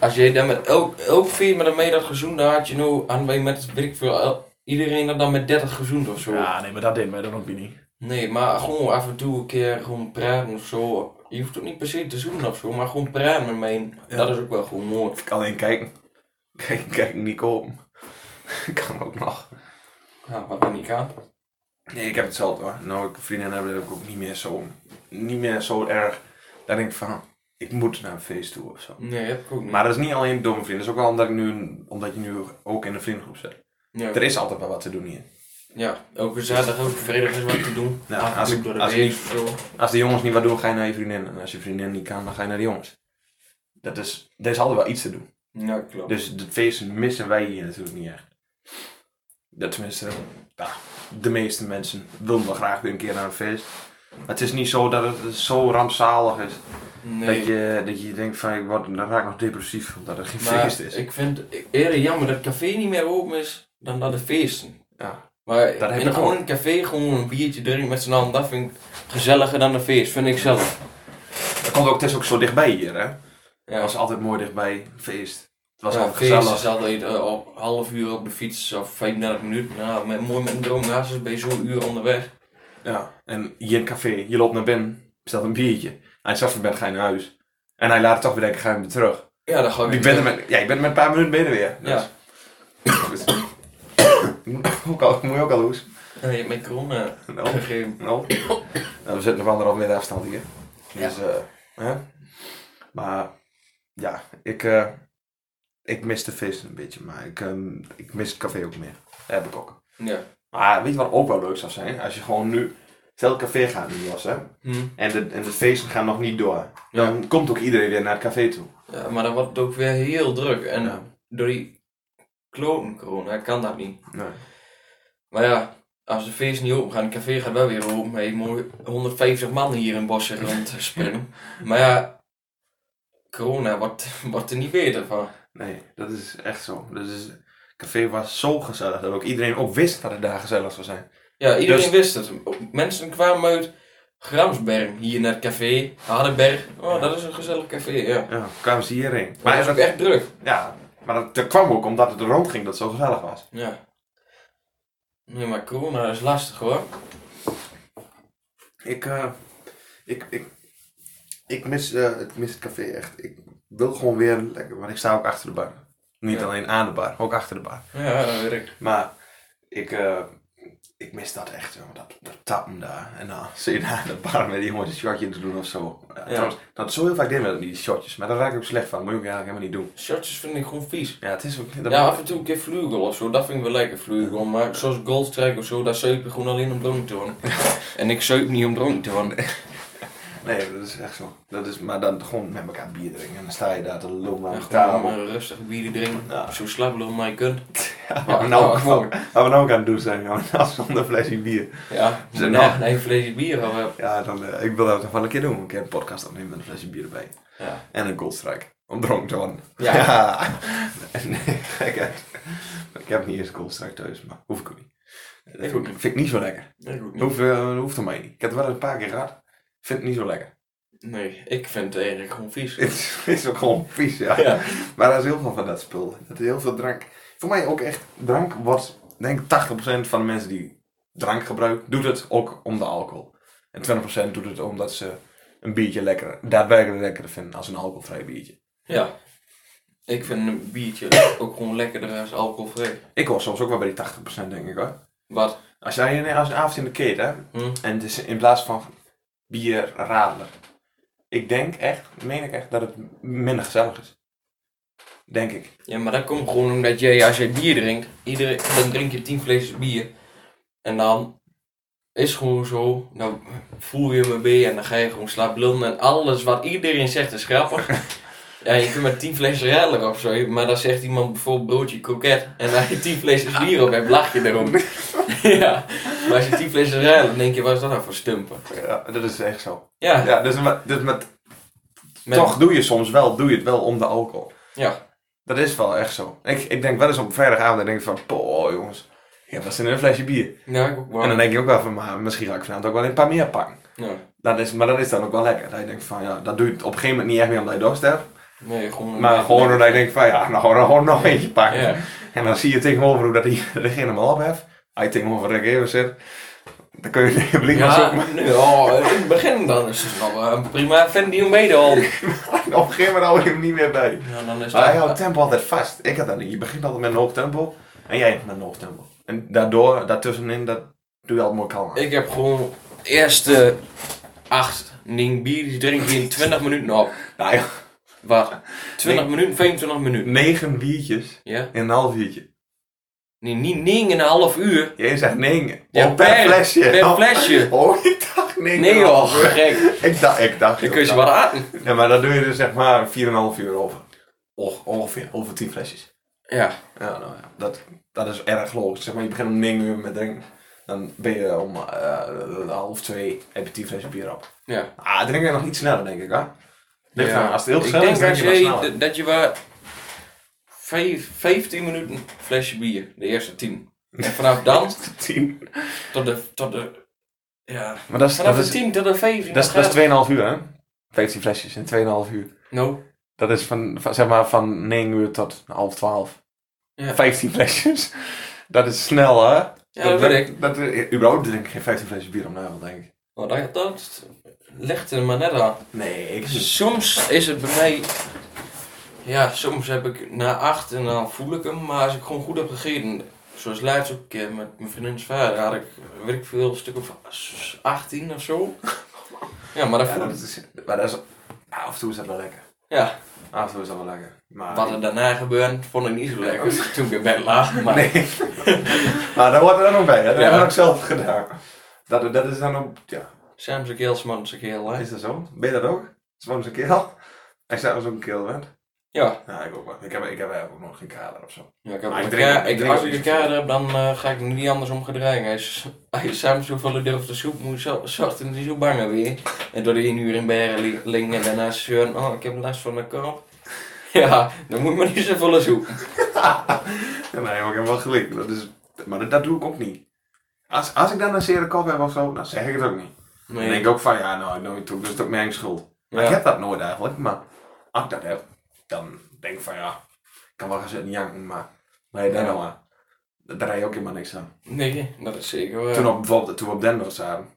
Speaker 2: als je dan met elk, elk feest met een meid had gezoend, dan had je nou, aan bij met, weet ik veel, el- iedereen had dan met 30 gezoend of zo.
Speaker 1: nee, maar dat deed mij dan ook niet.
Speaker 2: Nee, maar gewoon af en toe een keer gewoon praten of zo. Je hoeft ook niet per se te zoenen of zo, maar gewoon praten met mij.
Speaker 1: Ja.
Speaker 2: Dat is ook wel gewoon mooi.
Speaker 1: Ik kan alleen kijken. Kijk, kijk, niet komen. Ik kan ook nog.
Speaker 2: Ja, wat dan niet kan.
Speaker 1: Nee, ik heb hetzelfde hoor. Nou, ik, vriendinnen hebben dat ook niet meer zo, niet meer zo erg. Dan denk ik van, ik moet naar een feest toe of zo.
Speaker 2: Nee, heb ik ook niet.
Speaker 1: Maar dat is niet alleen door mijn vrienden. Dat is ook wel omdat, ik nu, een- omdat je nu ook in een vriendengroep zit.
Speaker 2: ja,
Speaker 1: Er is altijd wel wat te doen hier.
Speaker 2: ja, elke zaterdag, elke vrijdag is wat te doen.
Speaker 1: Ja,
Speaker 2: af en
Speaker 1: als
Speaker 2: toe
Speaker 1: ik-
Speaker 2: door de
Speaker 1: als ik
Speaker 2: week
Speaker 1: niet-
Speaker 2: of zo.
Speaker 1: Als de jongens niet wat doen, ga je naar je vriendin. En als je vriendin niet kan, dan ga je naar de jongens. Dat is, er is altijd wel iets te doen.
Speaker 2: Ja, klopt.
Speaker 1: Dus de feesten missen wij hier natuurlijk niet echt. Dat tenminste, ja, de meeste mensen willen wel graag weer een keer naar een feest. Maar het is niet zo dat het zo rampzalig is. Dat,
Speaker 2: nee,
Speaker 1: je, dat je denkt van, ik word, dan raak ik nog depressief omdat er geen feest
Speaker 2: maar
Speaker 1: is.
Speaker 2: ik vind het eerder jammer dat het café niet meer open is dan dat de feesten.
Speaker 1: Ja.
Speaker 2: Maar
Speaker 1: Dat heb
Speaker 2: in
Speaker 1: ik
Speaker 2: gewoon
Speaker 1: ook.
Speaker 2: een café gewoon een biertje drinken met z'n allen, dat vind ik gezelliger dan een feest, vind ik zelf.
Speaker 1: Dat komt ook, het is ook zo dichtbij hier hè.
Speaker 2: Ja.
Speaker 1: Het was altijd mooi dichtbij, feest. Het was
Speaker 2: Ja,
Speaker 1: altijd
Speaker 2: feest
Speaker 1: gezellig.
Speaker 2: is altijd eh, op half uur op de fiets of 35 minuten. Nou, met, mooi met een droom naast ons ben je zo'n uur onderweg.
Speaker 1: Ja, en je in het café, je loopt naar binnen, bestelt een biertje. Hij zegt van ben ga je naar huis. En hij laat toch weer denken, ga je weer terug.
Speaker 2: Oh, Ja, dan ga ik.
Speaker 1: Ik ben er met, ja, ik ben er met een paar minuten binnen weer. Dus.
Speaker 2: Ja.
Speaker 1: Goed. Ik moet ook al, ik moet ook al hoes.
Speaker 2: Ja, je hebt mijn corona
Speaker 1: Nou,
Speaker 2: gegeven.
Speaker 1: nou. Nou, we zitten nog anderhalf meter afstand hier. Dus, eh, hè? Maar, ja, ik, eh, ik mis de feesten een beetje. Maar ik, eh, ik mis het café ook meer. Dat heb ik ook.
Speaker 2: Ja.
Speaker 1: Maar weet je wat ook wel leuk zou zijn? Als je gewoon nu... Stel, het café gaat nu was, hè?
Speaker 2: Hm.
Speaker 1: En de, en de feesten gaan nog niet door. Dan komt ook iedereen weer naar het café toe.
Speaker 2: ja. Maar dan wordt het ook weer heel druk. En
Speaker 1: Ja.
Speaker 2: door die kloten corona kan dat niet.
Speaker 1: Nee.
Speaker 2: Maar ja, als de feest niet open gaan, het café gaat wel weer open. Maar je moet 150 man hier in Bossen rond springen. maar ja, corona wordt, wordt er niet beter van.
Speaker 1: Nee, dat is echt zo. Dus is- het café was zo gezellig dat ook iedereen ook wist dat het daar gezellig zou zijn.
Speaker 2: Ja, iedereen
Speaker 1: Dus-
Speaker 2: wist het. Mensen kwamen uit Gramsberg hier naar het café. Hardenberg. Oh,
Speaker 1: Ja.
Speaker 2: dat is een gezellig café, ja.
Speaker 1: Ja, kwamen ze hierheen.
Speaker 2: Maar het
Speaker 1: Maar,
Speaker 2: was ook
Speaker 1: dat,
Speaker 2: echt druk.
Speaker 1: ja, maar dat, dat kwam ook omdat het er rond ging dat het zo gezellig was.
Speaker 2: Ja. Nee, maar corona is lastig hoor.
Speaker 1: Ik, eh, ik, ik, ik, mis, eh, ik mis het café echt. Ik wil gewoon weer lekker, want ik sta ook achter de bar. Niet
Speaker 2: Ja.
Speaker 1: alleen aan de bar, ook achter de bar.
Speaker 2: Ja, dat weet ik.
Speaker 1: Maar ik, eh, ik mis dat echt, joh. Dat, dat tappen daar. En dan zit je daar aan de bar met die jongens een shotje te doen of zo. Ja,
Speaker 2: Ja.
Speaker 1: Trouwens, dat is zo heel vaak deden we dat niet, die shotjes. Maar daar raak ik ook slecht van. Moet je ook eigenlijk helemaal niet doen.
Speaker 2: Shotjes vind ik gewoon vies.
Speaker 1: Ja, het is ook... dat-
Speaker 2: Ja, af en toe een keer vlugel of zo, dat vind ik wel lekker vlugel. Maar zoals Goldstrike of zo, daar zuip ik gewoon alleen om dronken te worden. en ik zuip niet om dronken te worden.
Speaker 1: Nee, dat is echt zo. Dat is, maar dan gewoon met elkaar bier drinken. En dan sta je daar te lullen aan
Speaker 2: Ja,
Speaker 1: de
Speaker 2: gewoon
Speaker 1: tafel.
Speaker 2: eh, rustig bier drinken.
Speaker 1: Ja.
Speaker 2: Zo slapeloos maar je kunt.
Speaker 1: Ja,
Speaker 2: eh, Ja,
Speaker 1: maar nou,
Speaker 2: ja,
Speaker 1: gewoon. Wat we nou ook aan het doen zijn, joh. Nou, zonder flesje bier.
Speaker 2: Ja,
Speaker 1: Zijn
Speaker 2: na
Speaker 1: nog-
Speaker 2: een flesje bier al hebben.
Speaker 1: Ja, dan, eh, ik wil dat nog wel een keer doen. Een keer een podcast opnemen met een flesje bier erbij.
Speaker 2: Ja.
Speaker 1: En een goldstrike. Om dronken te worden.
Speaker 2: Ja.
Speaker 1: nee, gekheid. Ik heb niet eens een goldstrike thuis, maar hoef ik ook niet. Dat
Speaker 2: Ik
Speaker 1: vind
Speaker 2: ook
Speaker 1: ik,
Speaker 2: niet.
Speaker 1: vind ik niet zo lekker.
Speaker 2: Nee, goed niet.
Speaker 1: Hoeft, eh, hoeft er mij niet. Ik heb het wel een paar keer gehad. Ik vind het niet zo lekker.
Speaker 2: Nee, ik vind het eigenlijk gewoon vies.
Speaker 1: Het is- het is ook gewoon vies, ja.
Speaker 2: Ja.
Speaker 1: Maar er is heel veel van dat spul. Dat is heel veel drank. Voor mij ook echt, drank wordt, denk ik, 80% van de mensen die drank gebruiken, doet het ook om de alcohol. En 20% doet het omdat ze een biertje lekker, daadwerkelijk lekkerder vinden als een alcoholvrij biertje.
Speaker 2: Ja. Ik vind een biertje ook gewoon lekkerder als alcoholvrij.
Speaker 1: Ik hoor soms ook wel bij die 80% denk ik hoor.
Speaker 2: Wat?
Speaker 1: Als jij een, als een avond in de keet hè,
Speaker 2: Hm?
Speaker 1: en het is in plaats van bier radelen. Ik denk echt, meen ik echt, dat het minder gezellig is. Denk ik.
Speaker 2: Ja, maar dat komt gewoon omdat jij, als jij bier drinkt, iedereen, dan drink je 10 flesjes bier. En dan is het gewoon zo, dan voel je me mee en dan ga je gewoon slaap lullen. En alles wat iedereen zegt is grappig. Ja, je kunt met 10 flesjes redelijk of zo, maar dan zegt iemand bijvoorbeeld broodje kroket. En als je 10 flesjes bier op hebt, lach je erom. ja, maar als je 10 flesjes redelijk, dan denk je, wat is dat nou voor stumpen?
Speaker 1: Ja, dat is echt zo.
Speaker 2: Ja,
Speaker 1: Ja, dus, met- dus met
Speaker 2: met-
Speaker 1: Toch doe je soms wel, doe je het wel om de alcohol.
Speaker 2: Ja.
Speaker 1: Dat is wel echt zo. Ik, ik denk wel eens op vrijdagavond en denk ik van, poh jongens, ik heb wel zin in een flesje bier.
Speaker 2: Ja, ik ook wel.
Speaker 1: En dan denk je ook wel van, maar misschien ga ik vanavond ook wel een paar meer pakken.
Speaker 2: Ja.
Speaker 1: Dat is, maar dat is dan ook wel lekker. Dat je denkt van, ja, dat doe je op een gegeven moment niet echt meer omdat je dorst hebt.
Speaker 2: Nee, gewoon...
Speaker 1: Maar gewoon omdat je denkt van, ja, nou gewoon, gewoon nog eentje pakken.
Speaker 2: Ja.
Speaker 1: En dan zie je tegenover hoe dat hij er geen helemaal op heeft. Hij tegenover Rick Evers zit. Dan kun je de blik maar
Speaker 2: Ja,
Speaker 1: zoeken.
Speaker 2: nu, oh, in het begin dan is het nog een prima fan die hem meedoen.
Speaker 1: Maar op een gegeven moment hou je hem niet meer bij.
Speaker 2: Ja, dan is
Speaker 1: Maar hij
Speaker 2: dat-
Speaker 1: houdt tempo altijd vast. Ik had dat niet. Je begint altijd met een hoog tempo. En jij met een hoog tempo. En daardoor, daartussenin, dat doe je altijd mooi kalm. aan.
Speaker 2: Ik heb gewoon eerste acht Ning bier, die drink je in 20 minuten op.
Speaker 1: Nou, ja,
Speaker 2: Wat? 20 minuten, 25 minuten.
Speaker 1: negen biertjes
Speaker 2: Ja?
Speaker 1: in een half uurtje.
Speaker 2: Nee, niet Ning in een half uur.
Speaker 1: Jij zegt negen.
Speaker 2: Ja,
Speaker 1: oh, per, flesje.
Speaker 2: Per
Speaker 1: Oh.
Speaker 2: flesje.
Speaker 1: Oh, ik dacht negen.
Speaker 2: Nee joh, gek.
Speaker 1: Ik dacht, ik dacht.
Speaker 2: Dan kun je ze wat aten.
Speaker 1: Ja, maar dat doe je dus zeg maar 4,5 uur over. Och, ongeveer. Over 10 flesjes.
Speaker 2: Ja.
Speaker 1: Ja, nou ja. Dat, dat is erg logisch. Zeg maar, je begint om 9 uur met drinken. Dan ben je om eh, half 2 heb je 10 flesjes bier op.
Speaker 2: Ja.
Speaker 1: Ah, drink je nog iets sneller, denk ik, hè? Ligt
Speaker 2: Ja.
Speaker 1: eraan. Als het heel
Speaker 2: Ik
Speaker 1: gezellig is,
Speaker 2: denk
Speaker 1: drink je
Speaker 2: dat
Speaker 1: wat
Speaker 2: je,
Speaker 1: sneller.
Speaker 2: dat- dat je wel vijf- 15 minuten flesje bier, de eerste 10. En vanaf dan
Speaker 1: Tien.
Speaker 2: tot de, tot de, ja,
Speaker 1: Maar dat is,
Speaker 2: Vanaf
Speaker 1: dat
Speaker 2: de
Speaker 1: is,
Speaker 2: 10 tot de 15.
Speaker 1: dat is, dat is 2,5 uur, hè? 15 flesjes in 2,5 uur.
Speaker 2: No.
Speaker 1: Dat is van, van, zeg maar, van 9 uur tot half 12.
Speaker 2: Ja.
Speaker 1: 15 flesjes. Dat is snel, hè?
Speaker 2: Ja, dat weet ik.
Speaker 1: Dat, dat- überhaupt drink ik geen 15 flesjes bier om de avond, denk ik.
Speaker 2: Maar dat, dat ligt er maar net aan.
Speaker 1: Nee, ik
Speaker 2: Soms is het bij mij... Ja, soms heb ik na 8 en dan voel ik hem. Maar als ik gewoon goed heb gegeten... Zoals laatst ook een keer met mijn vriendin's vader had ik, weet ik veel, een stuk of 18 of zo. Ja, maar dat
Speaker 1: Ja,
Speaker 2: voel
Speaker 1: dat
Speaker 2: ik.
Speaker 1: is, maar dat is... ja, af en toe is dat wel lekker.
Speaker 2: Ja,
Speaker 1: Af en toe is dat wel lekker. Maar...
Speaker 2: wat er daarna gebeurde, vond ik niet zo lekker. Toen ik in bed lag. Maar
Speaker 1: Nee. maar dat hoort er dan ook bij, hè? Dat
Speaker 2: Ja.
Speaker 1: hebben we ook zelf gedaan. Dat, dat is dan ook... Ja,
Speaker 2: Sam zijn keel, Sman zijn keel. hè.
Speaker 1: Is dat zo? Ben je dat ook? Soms een keel? Hij staat als ook een keel bent.
Speaker 2: Ja.
Speaker 1: Ja, ik ook wel. Ik heb, ik heb eigenlijk ook nog geen kader of zo.
Speaker 2: Ja, ik heb
Speaker 1: Maar ik
Speaker 2: een
Speaker 1: drink-
Speaker 2: ka-
Speaker 1: ik
Speaker 2: ik-
Speaker 1: drink
Speaker 2: als
Speaker 1: ook
Speaker 2: ik een
Speaker 1: niet zoveel.
Speaker 2: kader heb, dan eh, ga ik er niet anders om gedragen. Als, als je samen zo veel durft te soep, moet je zacht en niet zo bang weer. En door de één uur in bergen li- liggen en daarna zeuren, oh ik heb last van mijn kamp. Ja, dan moet je maar niet zoveel soep.
Speaker 1: Ja, nee, maar ik heb wel gelijk. Dat is, maar dat, dat doe ik ook niet. Als, als ik dan een zere kop heb of zo, dan zeg ik het ook niet. Dan denk ik ook van, ja, nou, nooit toe, dus het is ook mijn schuld. Maar
Speaker 2: Ja.
Speaker 1: ik heb dat nooit eigenlijk, maar als ik dat heb, dan denk ik van, ja, ik kan wel gaan zitten janken, maar nee, daar
Speaker 2: Ja.
Speaker 1: nou aan. Daar rij je ook helemaal niks aan.
Speaker 2: Nee, dat is zeker waar.
Speaker 1: Toen, op, bijvoorbeeld, toen we op Denver zaten,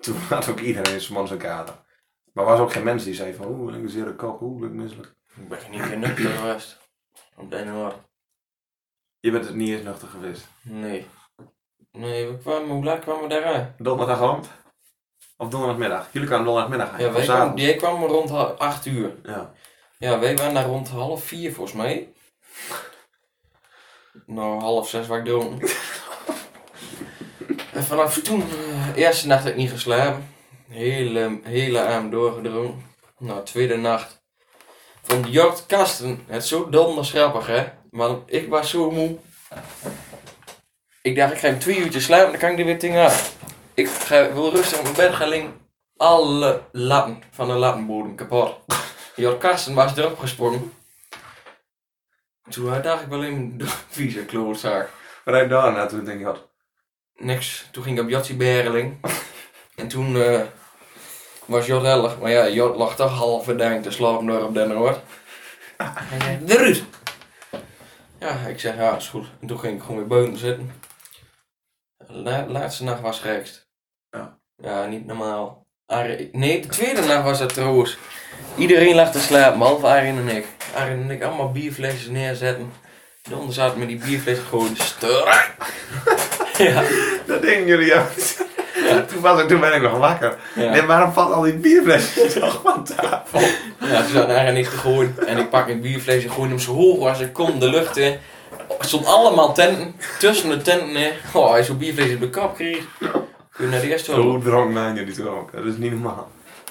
Speaker 1: toen had ook iedereen zijn man zijn kader. Maar er was ook geen mens die zei van, oeh, ik een zere kop, oeh, ben ik misselijk.
Speaker 2: Ik ben niet meer nuchter geweest. Op de ene hoor.
Speaker 1: Je bent het niet eens nuchter geweest.
Speaker 2: Nee. Nee, we kwamen, hoe laat kwamen we daaruit?
Speaker 1: Donderdagavond? Of donderdagmiddag? Jullie kwamen donderdagmiddag aan.
Speaker 2: Ja,
Speaker 1: of
Speaker 2: wij kwamen,
Speaker 1: s'avonds.
Speaker 2: jij kwam rond ha- acht uur.
Speaker 1: Ja.
Speaker 2: Ja, wij waren daar rond half vier volgens mij. Nou, half zes waar ik doen. En vanaf toen, eh, eerste nacht heb ik niet geslapen. Hele, hele avond doorgedrongen. Nou, tweede nacht. Van Jort Kasten. Het is zo donders grappig, hè. Maar ik was zo moe. Ik dacht, ik ga hem twee uurtjes slapen, dan kan ik er weer tegen af. Ik ga, wil rustig op mijn bed gaan liggen. Alle latten van de lattenbodem kapot. Jor Karsten was erop gesprongen. Toen eh, dacht ik wel in de vieze klootzaak.
Speaker 1: Maar hij daarna toen denk ik, wat,
Speaker 2: Niks. Toen ging ik op Jotsie Berling. En toen eh, was Jot hellig. Maar ja, Jot lag toch half verdijnd te slapen door op den Noord. Hij zei, de Ruud! Ja, ik zeg, ja, is goed. En toen ging ik gewoon weer buiten zitten. La- laatste nacht was gekst.
Speaker 1: Ja.
Speaker 2: Ja, niet normaal. Arie- nee, de tweede nacht was dat trouwens. Iedereen lag te slapen, behalve Arin en ik. Arin en ik allemaal bierflesjes neerzetten. Donder zaten met die bierflesjes gewoon stuk. ja,
Speaker 1: dat deden jullie uit. toen, was ik, toen ben ik nog wakker.
Speaker 2: ja.
Speaker 1: Nee, waarom valt al die bierflesjes nog van tafel?
Speaker 2: Ja, toen zat Arin niet te gooien. En ik pak een bierflesje en gooi hem zo hoog als ik kon de lucht in. Er stonden allemaal tenten. Tussen de tenten in. Oh, hij zo'n bierflesje op de kap kreeg. Kun je naar de eerste
Speaker 1: Zo dronken zijn jullie toen ook. Dat is niet normaal.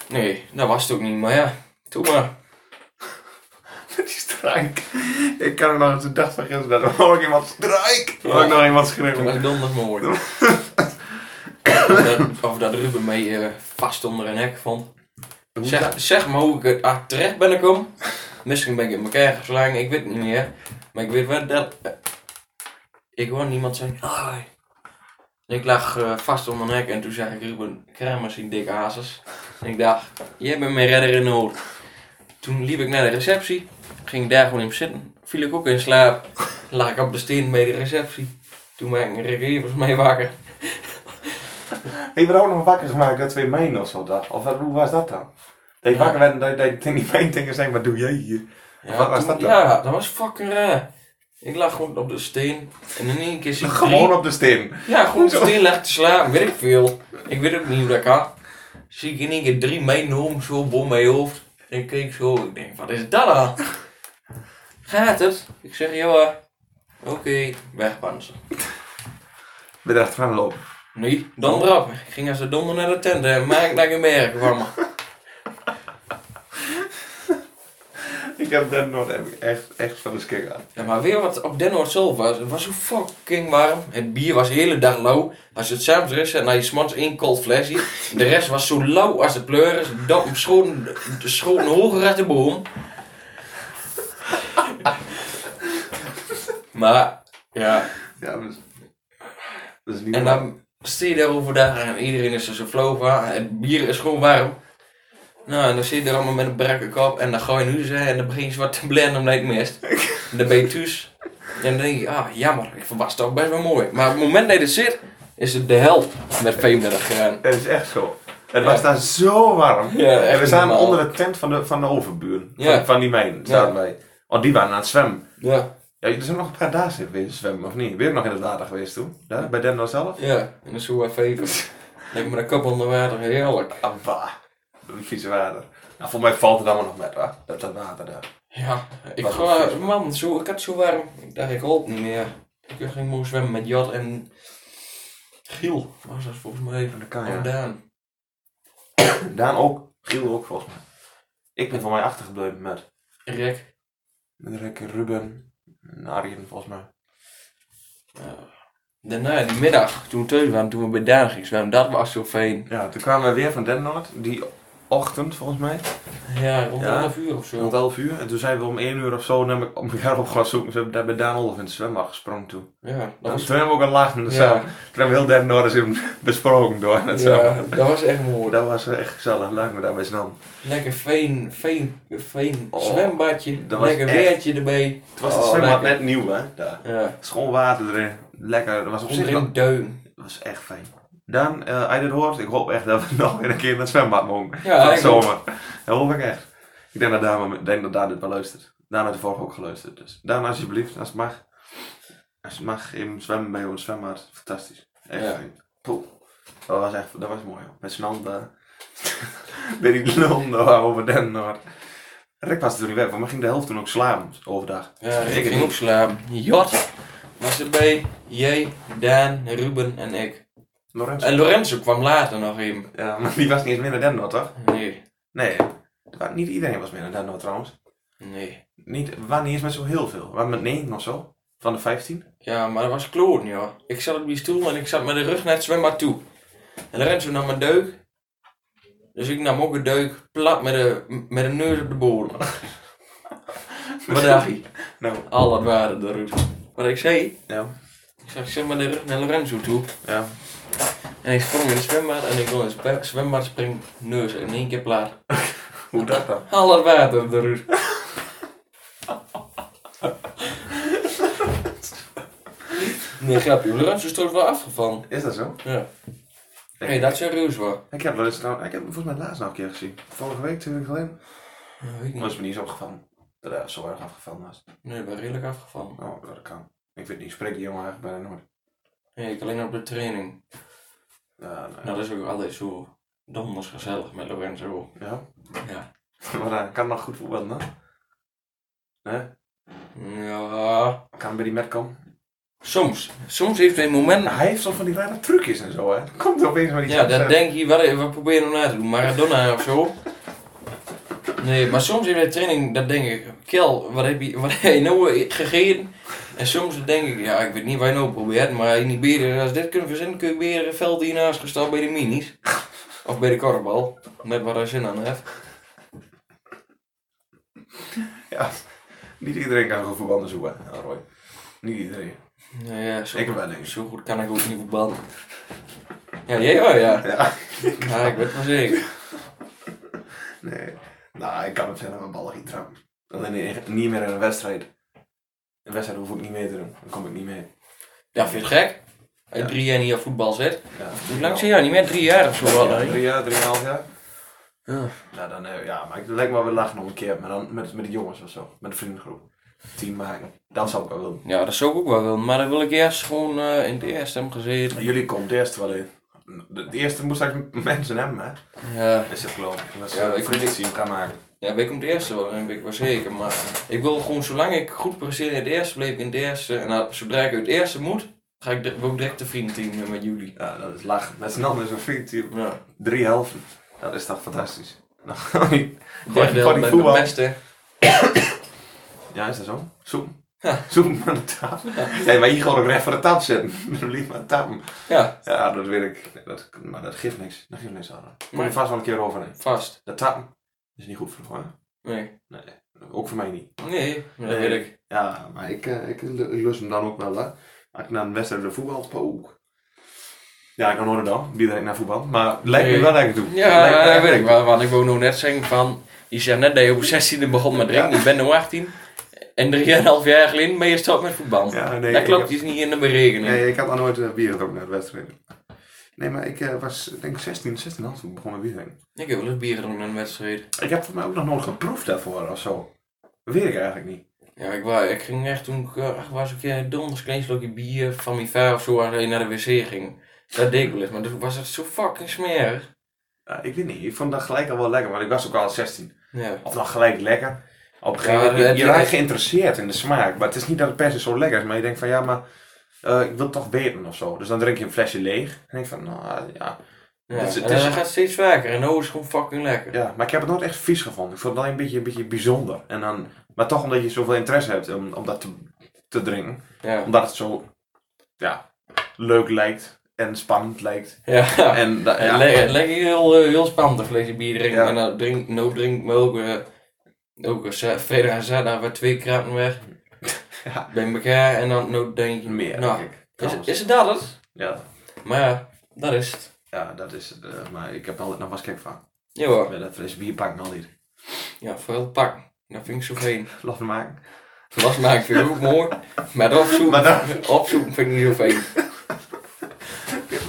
Speaker 2: Nee, dat was het ook niet. Maar ja, doe maar.
Speaker 1: Die strijk. Ik kan ook nog eens de dag van gisteren. Dan hoor ik iemand strijk. Dan hoor ik nog iemand
Speaker 2: Toen was
Speaker 1: schreeuwen.
Speaker 2: ik donders mooi. of, dat, of dat Ruben mij eh, vast onder een hek vond. Zeg, zeg maar hoe ik er ah, terecht ben gekomen. Misschien ben ik in elkaar geslagen, ik weet het niet meer. Maar ik weet wel dat... eh, ik hoor niemand zeggen... "Ai." En Ik lag eh, vast onder een hek en toen zag ik Ruben Kramers in dikke hazes. En ik dacht, jij bent mijn redder in nood. Toen liep ik naar de receptie, ging daar gewoon in zitten. Viel ik ook in slaap, lag ik op de steen bij de receptie. Toen maakte Rick Evers mij wakker.
Speaker 1: Heb je er ook nog wakker gemaakt dat twee mijnen of zo dacht? Of wat- hoe was dat dan? Dat je wakker werd en dat je- dat je tegen die mijn dingen zei, wat doe jij hier? Wat was
Speaker 2: toen-
Speaker 1: dat dan?
Speaker 2: Ja, dat was fucking raar. Ik lag gewoon op de steen en in één keer zie ik
Speaker 1: Gewoon
Speaker 2: drie-
Speaker 1: op de steen.
Speaker 2: Ja, gewoon op de steen lag te slapen, weet ik veel. Ik weet ook niet hoe dat kan. Zie ik in één keer drie meenomen zo boven mijn hoofd. En ik keek zo, ik denk, wat is dat dan? Gaat het? Ik zeg, joh, oké, wegpansen.
Speaker 1: Ben je erachteraan lopen?
Speaker 2: Nee, dan
Speaker 1: Oh.
Speaker 2: erop. Ik ging als een donder naar de tent en maak naar een merk kwam.
Speaker 1: Ik heb dat nog heb ik echt, echt van de schrik gehad.
Speaker 2: Ja, maar weer wat op Den Noord zelf was. Het was zo fucking warm. Het bier was de hele dag lauw. Als je het s'avonds rust en naar je smans één cold flesje. De rest was zo lauw als de pleuris. Dat schoten, schoten hoger uit de boom. Maar, ja.
Speaker 1: Ja, dat is, dat is niet
Speaker 2: En
Speaker 1: normaal.
Speaker 2: dan zie je daar overdag en iedereen is er zo flauw van. Het bier is gewoon warm. Nou, en dan zit je er allemaal met een brakke kop en dan ga je nu zijn en dan begin je wat te blenden omdat je het mist. En dan ben je thuis. En dan denk je, ah jammer, ik was toch best wel mooi. Maar op het moment dat je er zit, is het de hel met 35 graden.
Speaker 1: Dat is echt zo. Het was daar zo warm.
Speaker 2: Ja, echt
Speaker 1: en we staan
Speaker 2: normaal.
Speaker 1: onder de tent van de, van de overburen.
Speaker 2: Ja.
Speaker 1: Van, van die mijn zaten wij. Want die waren aan het zwemmen.
Speaker 2: Ja,
Speaker 1: Ja, er zijn nog een paar dagen zitten weer zwemmen, of niet? Ben je ook nog in het water geweest toen? Daar, bij Denno zelf?
Speaker 2: ja. En dan zo even even. Lekker met een kop onder water, heerlijk.
Speaker 1: Abba. Dat vieze water. Nou, volgens mij valt het allemaal nog met, hoor. Dat, dat water daar.
Speaker 2: Ja, ik
Speaker 1: Wat
Speaker 2: ga,
Speaker 1: een
Speaker 2: man, zo, ik had zo warm. Ik dacht, ik hoop niet meer. Ik ging mooi zwemmen met Jad en Giel. Was dat volgens mij?
Speaker 1: En dat kan,
Speaker 2: Of
Speaker 1: ja.
Speaker 2: Daan.
Speaker 1: Daan ook. Giel ook, volgens mij. Ik ben voor mij achtergebleven met.
Speaker 2: Rick.
Speaker 1: Met Rick, Ruben en Arjen, volgens mij.
Speaker 2: Daarna, die middag, toen we thuis waren, toen we bij Daan gingen zwemmen, dat was zo fijn.
Speaker 1: Ja, toen kwamen we weer van Den Noord, die ochtend volgens mij,
Speaker 2: Ja, rond
Speaker 1: Ja.
Speaker 2: half uur of
Speaker 1: rond
Speaker 2: zo.
Speaker 1: 11 uur. En toen zijn we om 1 uur of zo naar me- op elkaar op gaan zoeken. Ze hebben daar bij Daan Olf in het zwembad gesprongen toen.
Speaker 2: Ja, dat
Speaker 1: Nou,
Speaker 2: was...
Speaker 1: toen hebben we ook een lachen. Dus ja. Toen hebben we heel Den Noord eens besproken door het
Speaker 2: Ja,
Speaker 1: zwembad.
Speaker 2: dat was echt mooi.
Speaker 1: Oh, Dat was echt gezellig, leuk me daarbij snel.
Speaker 2: Lekker fijn, fijn, fijn
Speaker 1: Oh,
Speaker 2: zwembadje.
Speaker 1: dat was
Speaker 2: Lekker
Speaker 1: echt-
Speaker 2: weertje erbij.
Speaker 1: Het was
Speaker 2: Oh,
Speaker 1: het zwembad
Speaker 2: lekker.
Speaker 1: net nieuw hè, daar.
Speaker 2: Ja,
Speaker 1: Schoon water erin, lekker. Dat was op zich
Speaker 2: onder
Speaker 1: wel-
Speaker 2: een duim.
Speaker 1: Dat was echt fijn. Dan, eh als je dit hoort, ik hoop echt dat we nog weer een keer naar het zwembad mogen.
Speaker 2: Ja,
Speaker 1: dat
Speaker 2: ik
Speaker 1: zomer. Dat hoop ik echt. Ik denk dat Daan, ik denk dat Daan dit wel luistert. Daan heeft de vorige ook geluisterd. Dus Daan, alsjeblieft, als het mag. Als het mag, even zwemmen bij ons zwembad. Fantastisch. Echt
Speaker 2: Ja.
Speaker 1: fijn. Poeh. Dat was echt, dat was mooi. Hoor. Met z'n eh. handen. Bij die londen over Den Noord. Rick was er toen niet weg, want we gingen de helft toen ook slapen overdag.
Speaker 2: Ja,
Speaker 1: Dus
Speaker 2: ik ging ook slapen. Jot was erbij. Jij, Daan, Ruben en ik.
Speaker 1: Lorenzo.
Speaker 2: En Lorenzo kwam later nog even.
Speaker 1: Ja, maar die was niet eens meer naar Den Noord, toch?
Speaker 2: Nee,
Speaker 1: Nee, er waren- niet iedereen was meer naar Den Noord trouwens.
Speaker 2: nee.
Speaker 1: Niet, we waren niet eens met zo heel veel. We waren met 9 of zo. Van de 15.
Speaker 2: Ja, maar dat was kloten, joh. Ik zat op die stoel en ik zat met de rug naar het zwembad toe. En Lorenzo nam een deuk. Dus ik nam ook een deuk, plat met de, met de neus op de bodem. Wat dacht je?
Speaker 1: Nou,
Speaker 2: Al dat waren eruit. Wat ik zei,
Speaker 1: ja.
Speaker 2: ik zag zeg maar de rug naar Lorenzo toe.
Speaker 1: ja.
Speaker 2: En ik sprong in het zwembad en ik wil in het spe- zwembad springen, neus in één keer plaat.
Speaker 1: Hoe dat dan?
Speaker 2: Al dat water op de rug. Nee, grapje. Lorenzo is toch wel afgevallen.
Speaker 1: Is dat zo?
Speaker 2: Ja.
Speaker 1: Ik,
Speaker 2: Nee, dat is serieus hoor.
Speaker 1: ik heb wel eens trouw- ik heb hem volgens mij laatst nog een keer gezien. Vorige week, twee weken geleden.
Speaker 2: Ja, weet ik
Speaker 1: Dat
Speaker 2: niet.
Speaker 1: is me niet eens opgevallen. Dat hij zo erg afgevallen was.
Speaker 2: Nee, ik ben redelijk afgevallen.
Speaker 1: Oh, dat kan. Ik weet niet, ik spreek die jongen eigenlijk bijna nooit.
Speaker 2: Nee, ik alleen op de training.
Speaker 1: Ja, nou,
Speaker 2: Nou, dat is ook altijd zo donders gezellig met Lorenzo.
Speaker 1: ja.
Speaker 2: Ja.
Speaker 1: maar hij kan nog goed voetballen, hè? Nee?
Speaker 2: Ja.
Speaker 1: Kan bij die met komen?
Speaker 2: Soms. Soms heeft hij momenten.
Speaker 1: Hij heeft zo van die rare trucjes en zo, hè? Komt er opeens maar iets
Speaker 2: Ja,
Speaker 1: aan te
Speaker 2: dat
Speaker 1: zeggen.
Speaker 2: denk je, wat, wat probeer je nou na te doen? Maradona of zo? Nee, maar soms in de training, dat denk ik, Kel, wat heb je, wat heb je nou gegeten? En soms denk ik, ja, ik weet niet waar je nou probeert, maar in die beren, als dit kunnen verzinnen, kun je beren een veld hiernaast gestald bij de minis. Of bij de korfbal, met wat hij zin aan heeft.
Speaker 1: Ja, niet iedereen kan goed voetballen zoeken, hè, Roy. Niet iedereen.
Speaker 2: Nou ja, zo,
Speaker 1: Ik wel eens.
Speaker 2: zo goed kan ik ook niet voetballen. Ja, jij wel, ja.
Speaker 1: Ja.
Speaker 2: Ja, ik weet het wel zeker.
Speaker 1: Nee. Nou, ik kan het verder met ballen niet trappen. Alleen niet- niet meer in een wedstrijd. Een wedstrijd hoef ik niet mee te doen. Dan kom ik niet mee.
Speaker 2: Ja, vind je het gek? Als je drie jaar niet op voetbal zit.
Speaker 1: Ja.
Speaker 2: Hoe lang zie je jou? Niet meer drie jaar of zo wel,
Speaker 1: Ja,
Speaker 2: hè?
Speaker 1: drie jaar, drieënhalf jaar.
Speaker 2: Ja.
Speaker 1: Nou, dan, eh, ja, maar ik het lijkt me wel weer lachen nog een keer. Maar dan met, met de jongens of zo. Met de vriendengroep. Team maken. Dat zou ik wel willen.
Speaker 2: Ja, dat zou ik ook wel willen, maar dan wil ik eerst gewoon eh, in de eerste hebben gezeten.
Speaker 1: Jullie komt eerst wel in. De, de eerste moest eigenlijk mensen hebben, hè?
Speaker 2: Ja,
Speaker 1: Is het geloof ik. Dat ze
Speaker 2: Ja,
Speaker 1: ja,
Speaker 2: ik-
Speaker 1: vrienden team gaan maken.
Speaker 2: ja weet ik om de eerste wel, dat weet ik wel zeker. Maar ik wil gewoon, zolang ik goed presteer in de eerste, bleef ik in de eerste. En dan, zodra ik uit de eerste moet, ga ik, dir- wil ik direct de vriendenteam eh, met jullie.
Speaker 1: Ja, dat is lachen. Met z'n allen is een vriendenteam.
Speaker 2: Ja,
Speaker 1: Drie helften. Dat is toch fantastisch. Nou, gewoon
Speaker 2: derde
Speaker 1: die
Speaker 2: helft ben ik de
Speaker 1: voetbal.
Speaker 2: beste.
Speaker 1: Ja, is dat zo? Zoem.
Speaker 2: Ja.
Speaker 1: Zoem aan de tafel. Nee, maar hier gewoon ook recht voor de tafel zetten. Dan Lief maar tapen.
Speaker 2: Ja,
Speaker 1: Ja, dat weet ik. Nee, Dat, maar dat geeft niks. Dat geeft niks aan. Kom je
Speaker 2: Nee.
Speaker 1: vast wel een keer overheen.
Speaker 2: vast.
Speaker 1: Dat tapen is niet goed voor de hoor.
Speaker 2: Nee,
Speaker 1: Nee, ook voor mij niet.
Speaker 2: nee, dat
Speaker 1: Nee.
Speaker 2: weet ik.
Speaker 1: Ja, maar ik, eh, ik, ik lust hem dan ook wel. Hè. Als ik naar een wedstrijd de voetbal, poeh. Ja, ik kan horen dan. Wie direct naar voetbal. Maar het lijkt me
Speaker 2: Nee.
Speaker 1: wel lekker toe.
Speaker 2: Ja,
Speaker 1: Lijkt me
Speaker 2: dat
Speaker 1: echt
Speaker 2: weet ik
Speaker 1: leuk.
Speaker 2: wel, want ik wou nou net zeggen van, je zegt net dat je op 16e begon met drinken, je bent nu 18. En 3,5 jaar geleden ben je gestopt met voetbal.
Speaker 1: Ja, nee,
Speaker 2: dat
Speaker 1: ik
Speaker 2: klopt,
Speaker 1: heb-
Speaker 2: die is niet in de berekening.
Speaker 1: Nee, ik had nog nooit eh, bier gedronken naar de wedstrijd. Nee, maar ik eh, was denk ik 16, 16 half toen ik begon met bier drinken.
Speaker 2: Ik heb wel eens bier gedronken aan een wedstrijd.
Speaker 1: Ik heb voor mij ook nog nooit geproefd daarvoor of zo. Dat weet ik eigenlijk niet.
Speaker 2: Ja, ik, wou, ik ging echt toen ik eh, acht was, een keer donders klein slokje bier van mijn vader of zo, als je naar de wc ging. Dat deed ik wel eens, maar toen was het zo fucking smerig.
Speaker 1: Ja, ik weet niet, ik vond dat gelijk al wel lekker, want ik was ook al 16.
Speaker 2: Ja.
Speaker 1: Of dan gelijk lekker. Op een
Speaker 2: Ja,
Speaker 1: gegeven moment,
Speaker 2: het-
Speaker 1: je raakt
Speaker 2: het-
Speaker 1: geïnteresseerd in de smaak, maar het is niet dat het per se zo lekker is, maar je denkt van ja, maar eh, ik wil het toch weten of zo. Dus dan drink je een flesje leeg en denk van, nou ja,
Speaker 2: Ja.
Speaker 1: Het is-
Speaker 2: en
Speaker 1: het is-
Speaker 2: dat gaat steeds vaker en nou is het gewoon fucking lekker.
Speaker 1: ja. Maar ik heb het nooit echt vies gevonden. Ik vond het alleen een beetje, een beetje bijzonder. En dan Maar toch omdat je zoveel interesse hebt om, om dat te, te drinken.
Speaker 2: Ja.
Speaker 1: Omdat het zo ja, leuk lijkt en spannend lijkt.
Speaker 2: Ja.
Speaker 1: En da- ja,
Speaker 2: Het lijkt- het lijkt heel, eh, heel spannend, een flesje bier drinken.
Speaker 1: Ja.
Speaker 2: En nou drink, nou drink me ook, eh, ook een za- vrijdag en zaterdag weer twee kraten weg.
Speaker 1: Ja.
Speaker 2: Bij elkaar en dan nou denk je...
Speaker 1: meer.
Speaker 2: Nou,
Speaker 1: denk ik,
Speaker 2: is,
Speaker 1: trouwens.
Speaker 2: is het dat het?
Speaker 1: ja,
Speaker 2: Maar ja, dat is het.
Speaker 1: ja, dat is het. eh, maar ik heb altijd nog wel eens gek van.
Speaker 2: Ja hoor.
Speaker 1: Met dat fles bier pakken al hier.
Speaker 2: Ja, veel pak. Dat vind ik zo fijn.
Speaker 1: Laf maken.
Speaker 2: Last maken vind ik ook mooi. Maar dat opzoeken,
Speaker 1: Maar dat-
Speaker 2: opzoeken vind ik niet zo fijn.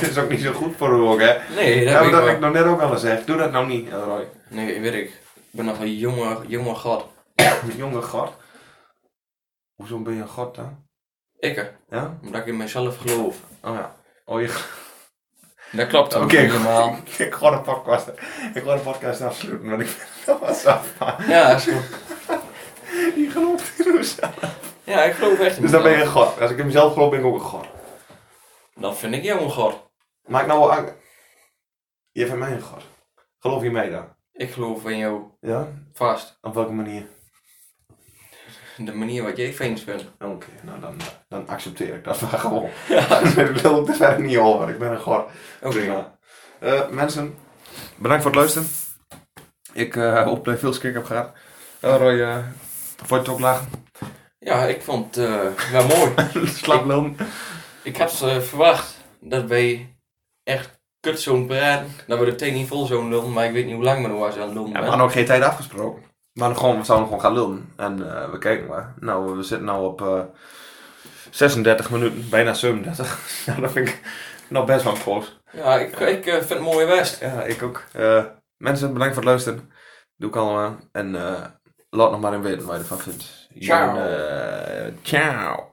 Speaker 1: Het is ook niet zo goed voor de ook, hè.
Speaker 2: Nee,
Speaker 1: Ja,
Speaker 2: dat weet
Speaker 1: maar
Speaker 2: ik
Speaker 1: dat heb
Speaker 2: wel.
Speaker 1: ik nog net ook al gezegd. Doe dat nou niet, Roy.
Speaker 2: Nee, weet ik. Ik ben nog een jonge, jonge god.
Speaker 1: Jonge god. Hoezo ben je een god dan?
Speaker 2: Ik,
Speaker 1: Ja?
Speaker 2: omdat ik in mezelf geloof.
Speaker 1: Oh ja. Oh, je...
Speaker 2: Dat klopt ook
Speaker 1: Oké,
Speaker 2: niet helemaal.
Speaker 1: ik, ik hoor een podcast. Ik hoor de podcast afsluiten, want ik vind dat was af.
Speaker 2: Ja, dat is goed.
Speaker 1: Die gelooft in mezelf.
Speaker 2: Ja, ik geloof echt in
Speaker 1: Dus dan ben je
Speaker 2: mezelf.
Speaker 1: een god. Als ik in mezelf geloof, ben ik ook een god.
Speaker 2: Dan vind ik jou een god.
Speaker 1: Maak nou wel aan. Je vindt mij een god. Geloof je mij dan?
Speaker 2: Ik geloof in jou
Speaker 1: Ja?
Speaker 2: vast.
Speaker 1: Op welke manier?
Speaker 2: De manier wat jij fijn vindt.
Speaker 1: Oké, nou dan, dan accepteer ik dat maar gewoon. ik wil het er verder niet over. Ik ben een god.
Speaker 2: Oké.
Speaker 1: Prima. Eh, mensen, bedankt voor het luisteren. Ik eh, hoop dat je veel schrik hebt gehad. Eh, Roy, eh, vond je het ook laag?
Speaker 2: Ja, ik vond het eh, wel mooi.
Speaker 1: Slap lul.
Speaker 2: ik had eh, verwacht dat wij echt kut zo'n praten. Dat we de thee niet vol zo'n lullen, maar ik weet niet hoe lang we nog was aan het lullen.
Speaker 1: Ja, we
Speaker 2: ben.
Speaker 1: hadden ook geen tijd afgesproken. We, hadden gewoon, we zouden gewoon gaan lullen. En eh, we kijken maar. Nou, we zitten nu op eh, 36 minuten, bijna 37. nou, dat vind ik nog best wel groot.
Speaker 2: Ja, ik, ik eh, vind het mooi best.
Speaker 1: Ja, ik ook. Eh, mensen, bedankt voor het luisteren. Doe ik allemaal. En eh, laat nog maar in weten wat je ervan vindt.
Speaker 2: Ciao.
Speaker 1: En, eh, ciao.